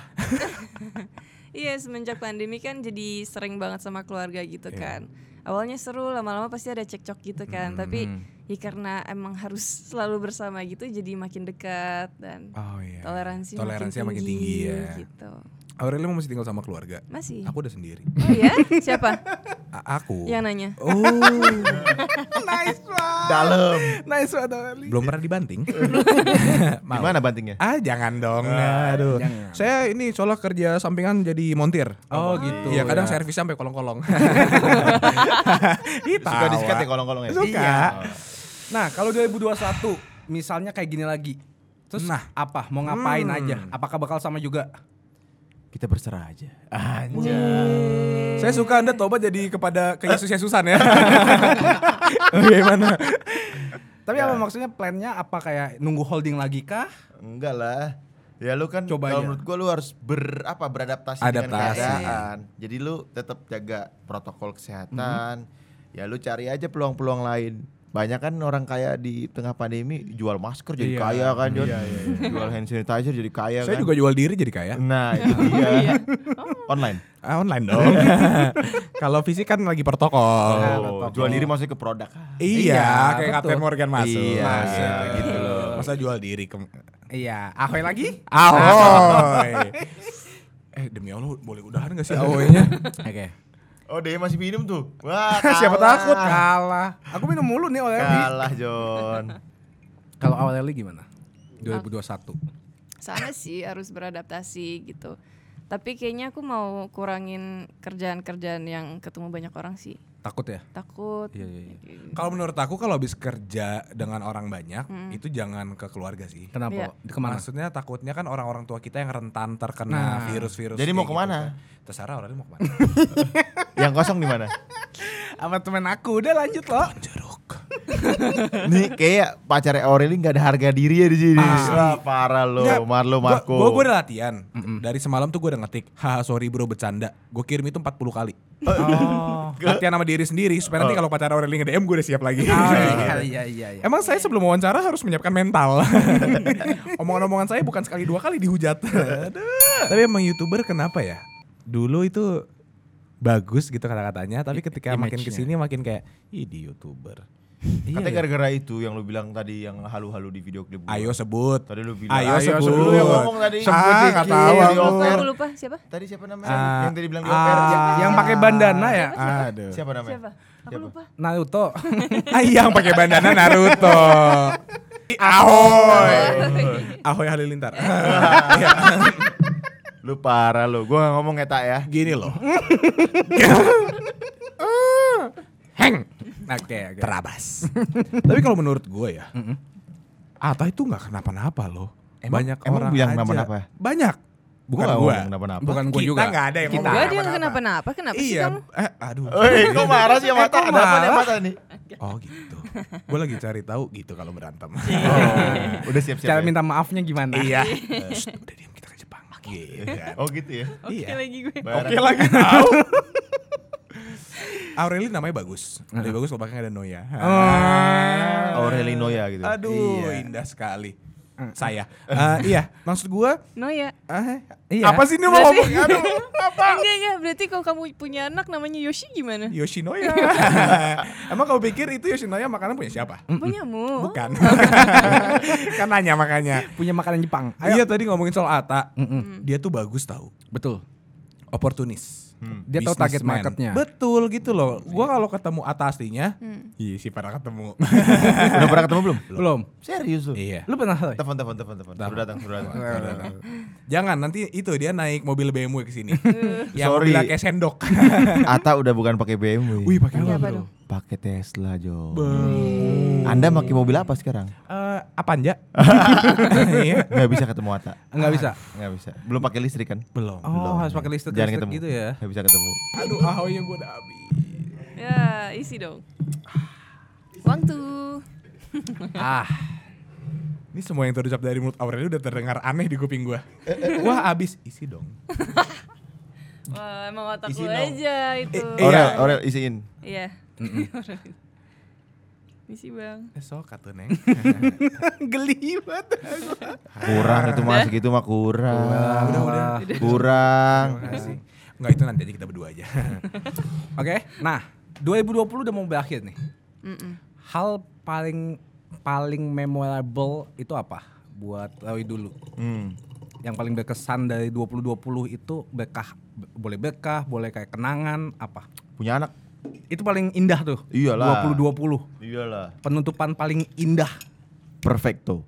Speaker 1: Iya semenjak pandemi kan jadi sering banget sama keluarga gitu
Speaker 4: Iya.
Speaker 1: kan. Awalnya seru lama-lama pasti ada cekcok gitu kan.
Speaker 4: Hmm,
Speaker 1: Tapi ya karena emang harus selalu bersama gitu jadi makin dekat dan
Speaker 4: Oh iya.
Speaker 1: toleransi,
Speaker 4: Toleransi
Speaker 1: makin,
Speaker 4: makin
Speaker 1: tinggi,
Speaker 4: tinggi ya.
Speaker 1: gitu.
Speaker 4: Aurelio masih tinggal sama keluarga.
Speaker 1: Masih.
Speaker 4: Aku udah sendiri.
Speaker 1: Oh ya siapa
Speaker 4: A- aku.
Speaker 1: yang nanya?
Speaker 4: Oh,
Speaker 3: nice one.
Speaker 5: dalam
Speaker 3: Nice one, Dali.
Speaker 4: belum pernah dibanting. Mau.
Speaker 5: gimana bantingnya
Speaker 4: Ah jangan dong.
Speaker 3: Ah,
Speaker 4: aduh. Saya ini soalnya kerja sampingan jadi montir.
Speaker 3: Oh, gitu.
Speaker 4: Iya kadang servis sampai kolong-kolong.
Speaker 5: suka disikat ya kolong-kolong ya
Speaker 4: Suka.
Speaker 3: Nah, kalau 2021 misalnya kayak gini lagi. Terus
Speaker 4: Nah. Hmm.
Speaker 3: apa? Mau ngapain aja? Apakah bakal sama juga?
Speaker 5: kita berserah aja
Speaker 4: Saya suka Anda tobat jadi kepada ke Yesus Yesusan ya. Bagaimana?
Speaker 3: Tapi
Speaker 4: Ya.
Speaker 3: apa maksudnya plannya apa kayak nunggu holding lagi kah?
Speaker 5: enggak lah ya lu kan
Speaker 3: Coba
Speaker 5: kalau
Speaker 3: aja.
Speaker 5: menurut gua lu harus ber apa beradaptasi dengan
Speaker 4: Adaptasi.
Speaker 5: keadaan jadi lu tetap jaga protokol kesehatan
Speaker 4: Mhm.
Speaker 5: ya lu cari aja peluang-peluang lain banyak kan orang kaya di tengah pandemi jual masker
Speaker 3: Iya.
Speaker 5: jadi kaya kan Jon jual hand sanitizer jadi
Speaker 4: iya.
Speaker 5: kaya
Speaker 4: Saya
Speaker 5: kan
Speaker 4: juga Iya. jual diri jadi kaya.
Speaker 5: nah itu dia online
Speaker 4: Ah, online dong. Kalau fisik kan lagi protokol.
Speaker 5: Oh, jual diri masih ke produk
Speaker 3: Iya,
Speaker 4: Iya, kayak
Speaker 3: betul.
Speaker 4: Captain Morgan masuk.
Speaker 5: Iya,
Speaker 4: Masuk.
Speaker 5: iya, gitu loh.
Speaker 4: Masa jual diri ke
Speaker 3: Iya, ahoy lagi?
Speaker 4: Ahoy. eh, demi Allah boleh udahan gak sih Ahoy-nya? Oke.
Speaker 5: Oh dia masih minum tuh. Wah
Speaker 3: Siapa
Speaker 5: kalah.
Speaker 3: takut? Kalah. Aku minum mulu nih oleh
Speaker 5: Kalah John.
Speaker 3: Kalau awalnya gimana? 2021.
Speaker 1: Sama sih harus beradaptasi gitu. Tapi kayaknya aku mau kurangin kerjaan-kerjaan yang ketemu banyak orang sih.
Speaker 4: Takut ya?
Speaker 1: Takut.
Speaker 4: Iya, iya, iya. Kalau menurut aku kalau habis kerja dengan orang banyak itu jangan ke keluarga sih.
Speaker 1: Iya.
Speaker 3: Kenapa? Kemana?
Speaker 4: Maksudnya takutnya kan orang-orang tua kita yang
Speaker 3: Nah.
Speaker 4: rentan terkena virus-virus.
Speaker 5: Jadi
Speaker 4: kayak
Speaker 5: mau kemana?
Speaker 4: kan. Terserah orangnya mau kemana.
Speaker 5: Yang kosong di mana?
Speaker 3: Apartemen aku udah lanjut loh.
Speaker 4: Jeruk.
Speaker 5: Nih kayak pacarnya Aureli nggak ada harga diri ya di sini. Wah, parah lo,
Speaker 4: Nggak,
Speaker 5: Marlo
Speaker 4: gua-
Speaker 5: Marco.
Speaker 4: Gua, gua udah latihan. Dari semalam tuh gua udah ngetik. Haha sorry bro bercanda. Gue kirim itu 40 kali.
Speaker 3: Oh.
Speaker 4: Latihan sama diri sendiri supaya nanti kalau pacar Aureli nge-DM gue udah siap lagi.
Speaker 3: iya iya iya. iya.
Speaker 4: Emang saya sebelum wawancara harus menyiapkan mental. Omongan-omongan saya bukan sekali dua kali dihujat. tapi emang youtuber kenapa ya? Dulu itu bagus gitu kata-katanya, tapi ketika makin
Speaker 3: image-nya.
Speaker 4: kesini makin kayak, ih di youtuber.
Speaker 5: Katanya gara-gara itu yang lu bilang tadi yang halu-halu di video klip. gua.
Speaker 4: Ayo sebut.
Speaker 5: Tadi lu bilang.
Speaker 4: Ayo,
Speaker 3: Ayo
Speaker 4: sebut.
Speaker 5: Lu yang ngomong tadi.
Speaker 4: Ah, nggak tahu aku.
Speaker 5: Di
Speaker 1: Lupa,
Speaker 5: off-air.
Speaker 1: aku lupa siapa?
Speaker 5: Tadi siapa namanya?
Speaker 4: Ah,
Speaker 5: yang tadi bilang di
Speaker 4: ah,
Speaker 5: off-air. siapa?
Speaker 3: Yang pakai bandana ya?
Speaker 4: Aduh.
Speaker 5: Siapa namanya?
Speaker 1: Siapa? Aku
Speaker 5: Siapa?
Speaker 1: lupa.
Speaker 3: Naruto.
Speaker 4: Ah, iya, yang pakai bandana Naruto. Ahoy.
Speaker 1: Iya.
Speaker 4: Ahoy Halilintar. Iya.
Speaker 5: Lu parah lu. Gua nggak ngomong ngetak ya.
Speaker 4: Gini loh. Heng.
Speaker 3: Oke oke.
Speaker 4: Terabas. Tapi kalau menurut gue ya, Ata itu nggak kenapa-napa loh. Banyak
Speaker 5: emang
Speaker 4: orang
Speaker 5: bilang
Speaker 4: aja.
Speaker 5: kenapa-napa?
Speaker 4: Banyak. Bukan
Speaker 5: nggak
Speaker 4: gua.
Speaker 5: ngomong kenapa-napa.
Speaker 3: Bukan gua
Speaker 4: Kita
Speaker 3: juga.
Speaker 4: nggak ada yang
Speaker 3: Kita.
Speaker 4: ngomong
Speaker 1: Gua dia nggak kenapa-napa. Kenapa sih
Speaker 4: Iya,
Speaker 1: kamu?
Speaker 4: eh, aduh.
Speaker 5: Eh, kok marah sih sama
Speaker 3: Eh, kok
Speaker 5: Ata? Ada apa nih sama
Speaker 3: marah?
Speaker 5: Ata nih?
Speaker 4: Oh gitu. Gue lagi cari tahu gitu kalau berantem.
Speaker 1: Iya.
Speaker 5: Oh, udah siap-siap.
Speaker 3: Cara
Speaker 5: ya?
Speaker 3: minta maafnya gimana?
Speaker 4: Iya. Shh, udah diam kita ke Jepang. Gitu kan.
Speaker 5: Oh gitu ya.
Speaker 1: Oke
Speaker 4: Iya.
Speaker 1: lagi gue.
Speaker 5: Oke
Speaker 4: lagi tahu. Aureli namanya bagus. Lebih bagus kalau pakai nggak ada Noya.
Speaker 3: Ah,
Speaker 5: Aureli Noya gitu.
Speaker 4: Aduh, indah sekali. Saya. Eh, iya, maksud gua
Speaker 1: No ya.
Speaker 4: eh,
Speaker 3: Iya.
Speaker 4: apa sih ini mau
Speaker 1: Berarti-
Speaker 4: ngomong? Aduh, apa?
Speaker 1: Enggak enggak. Berarti kalau kamu punya anak namanya Yoshi gimana?
Speaker 4: Yoshinoya. Emang kau pikir itu Yoshinoya makanan punya siapa?
Speaker 1: Punyamu.
Speaker 4: Bukan. kan nanya makanya.
Speaker 3: Punya makanan Jepang.
Speaker 4: Iya tadi ngomongin soal Ata, Hmm. dia tuh bagus tahu.
Speaker 3: Betul.
Speaker 4: Oportunis.
Speaker 3: Dia tahu target
Speaker 4: Hmm. Businessman.
Speaker 3: marketnya.
Speaker 4: Betul gitu loh. Gua kalau ketemu Ata aslinya, iya sih pernah ketemu.
Speaker 5: Udah pernah ketemu belum?
Speaker 3: Belum.
Speaker 5: Serius lu?
Speaker 4: iya.
Speaker 3: Lu pernah Roy?
Speaker 5: Telepon, telepon, telepon, telepon. Suruh datang, suruh datang.
Speaker 4: Jangan nanti itu dia naik mobil BMW ke sini. Yang
Speaker 5: Sorry.
Speaker 4: mobilnya kayak sendok.
Speaker 5: Ata udah bukan pakai BMW.
Speaker 4: Wih, Iya, pakai
Speaker 1: Pakai
Speaker 4: apa,
Speaker 1: Ya, apa
Speaker 4: Bro?
Speaker 1: dong?
Speaker 5: pakai Tesla, Jo. Anda pakai mobil apa sekarang?
Speaker 4: Eh, apaan ja? Iya.
Speaker 5: Nggak bisa ketemu Ata.
Speaker 3: Enggak bisa.
Speaker 5: Nggak bisa. Belum pakai listrik kan?
Speaker 4: Belum.
Speaker 3: Oh, harus pakai listrik,
Speaker 5: Jangan
Speaker 3: listrik
Speaker 5: ketemu.
Speaker 3: gitu ya.
Speaker 5: Nggak bisa ketemu.
Speaker 4: Aduh, ahoynya gue udah habis.
Speaker 1: Ya, isi dong. Waktu.
Speaker 3: Ah.
Speaker 4: Ini semua yang terucap dari mulut Aurelio udah terdengar aneh di kuping gue. Wah, habis. Isi dong.
Speaker 1: Wah, emang otak
Speaker 4: Isi
Speaker 1: lu
Speaker 4: dong.
Speaker 1: aja itu.
Speaker 4: Eh,
Speaker 5: Aurel,
Speaker 4: iya.
Speaker 5: Aurel isiin.
Speaker 1: Iya. Misi bang.
Speaker 4: Esok kata neng.
Speaker 3: Geli banget.
Speaker 5: Kurang itu mas, gitu mah kurang.
Speaker 4: udah, udah.
Speaker 5: Kurang.
Speaker 4: Makasih. Enggak itu nanti aja kita berdua aja.
Speaker 3: Oke. Nah, 2020 udah mau berakhir nih. Hal paling paling memorable itu apa buat Roy dulu?
Speaker 5: Hmm.
Speaker 3: Yang paling berkesan dari 2020 itu berkah be- boleh berkah, boleh kayak kenangan apa?
Speaker 5: Punya anak?
Speaker 3: Itu paling indah tuh.
Speaker 5: Iyalah.
Speaker 3: 2020.
Speaker 5: Iyalah.
Speaker 3: Penutupan paling indah.
Speaker 5: Perfecto.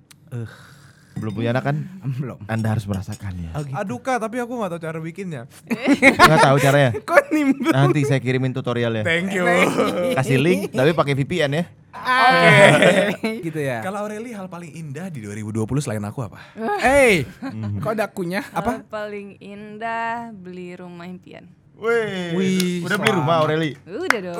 Speaker 5: Belum punya anak kan?
Speaker 3: Belum.
Speaker 5: Anda harus merasakannya.
Speaker 4: Aduh kak, tapi aku gak tahu cara bikinnya.
Speaker 5: Nggak tahu caranya.
Speaker 3: Kok nimbrung?
Speaker 5: Nanti saya kirimin tutorialnya.
Speaker 4: Thank you.
Speaker 5: Kasih link, tapi pakai VPN ya.
Speaker 3: gitu ya.
Speaker 4: Kalau Aureli hal paling indah di 2020 selain aku apa?
Speaker 3: Eh, kok ada akunya?
Speaker 1: Apa? Eh, paling indah beli rumah impian.
Speaker 5: Wih, udah beli rumah Aureli.
Speaker 1: Udah dong.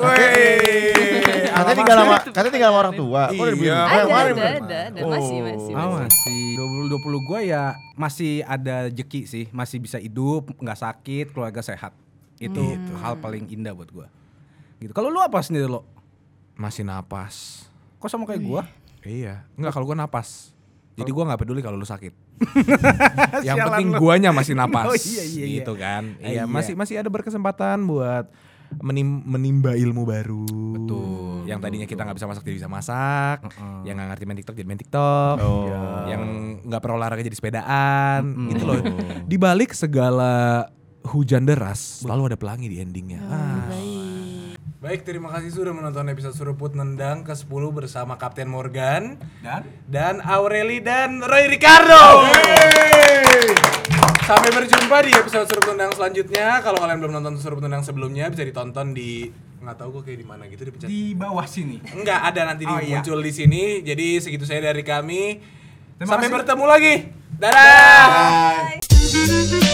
Speaker 5: Katanya tinggal sama katanya tinggal sama orang tua. Kok udah beli
Speaker 4: Iya.
Speaker 5: rumah?
Speaker 1: Ada,
Speaker 5: Yang mana
Speaker 1: ada,
Speaker 5: beli rumah?
Speaker 1: ada, ada, masih, masih,
Speaker 3: Ah,
Speaker 1: masih.
Speaker 3: masih 2020 gue ya masih ada jeki sih, masih bisa hidup, nggak sakit, keluarga sehat. Itu hal paling indah buat gue. Gitu. Kalau lu apa sendiri lo?
Speaker 4: Masih napas.
Speaker 3: Kok sama kayak gue?
Speaker 4: Iya. Enggak kalau gua napas. Jadi gua nggak peduli kalau lu sakit. Yang penting guanya masih
Speaker 3: Oh,
Speaker 4: napas.
Speaker 3: iya, iya, iya.
Speaker 4: Gitu kan.
Speaker 3: Eh, iya.
Speaker 4: Iya, masih masih ada berkesempatan buat menim- menimba ilmu baru. Betul. Yang tadinya kita nggak bisa masak jadi bisa masak. Yang nggak ngerti main TikTok jadi main TikTok.
Speaker 5: Oh.
Speaker 4: Yang nggak pernah olahraga jadi sepedaan. Gitu loh. Di balik segala hujan deras selalu ada pelangi di endingnya. Ah. Baik, terima kasih sudah menonton episode Suruput Nendang ke-10 bersama Kapten Morgan dan dan Aureli dan Roy Ricardo. Sampai berjumpa di episode Suruh Tendang selanjutnya. Kalau kalian belum nonton Suruh Tendang sebelumnya bisa ditonton di nggak tahu gue kayak di mana gitu dipencet.
Speaker 3: Di bawah sini.
Speaker 4: Enggak ada nanti
Speaker 3: Oh, iya.
Speaker 4: muncul di sini. Jadi segitu saya dari kami.
Speaker 3: Terima
Speaker 4: Sampai
Speaker 3: kasih.
Speaker 4: bertemu lagi. Dadah.
Speaker 1: Bye.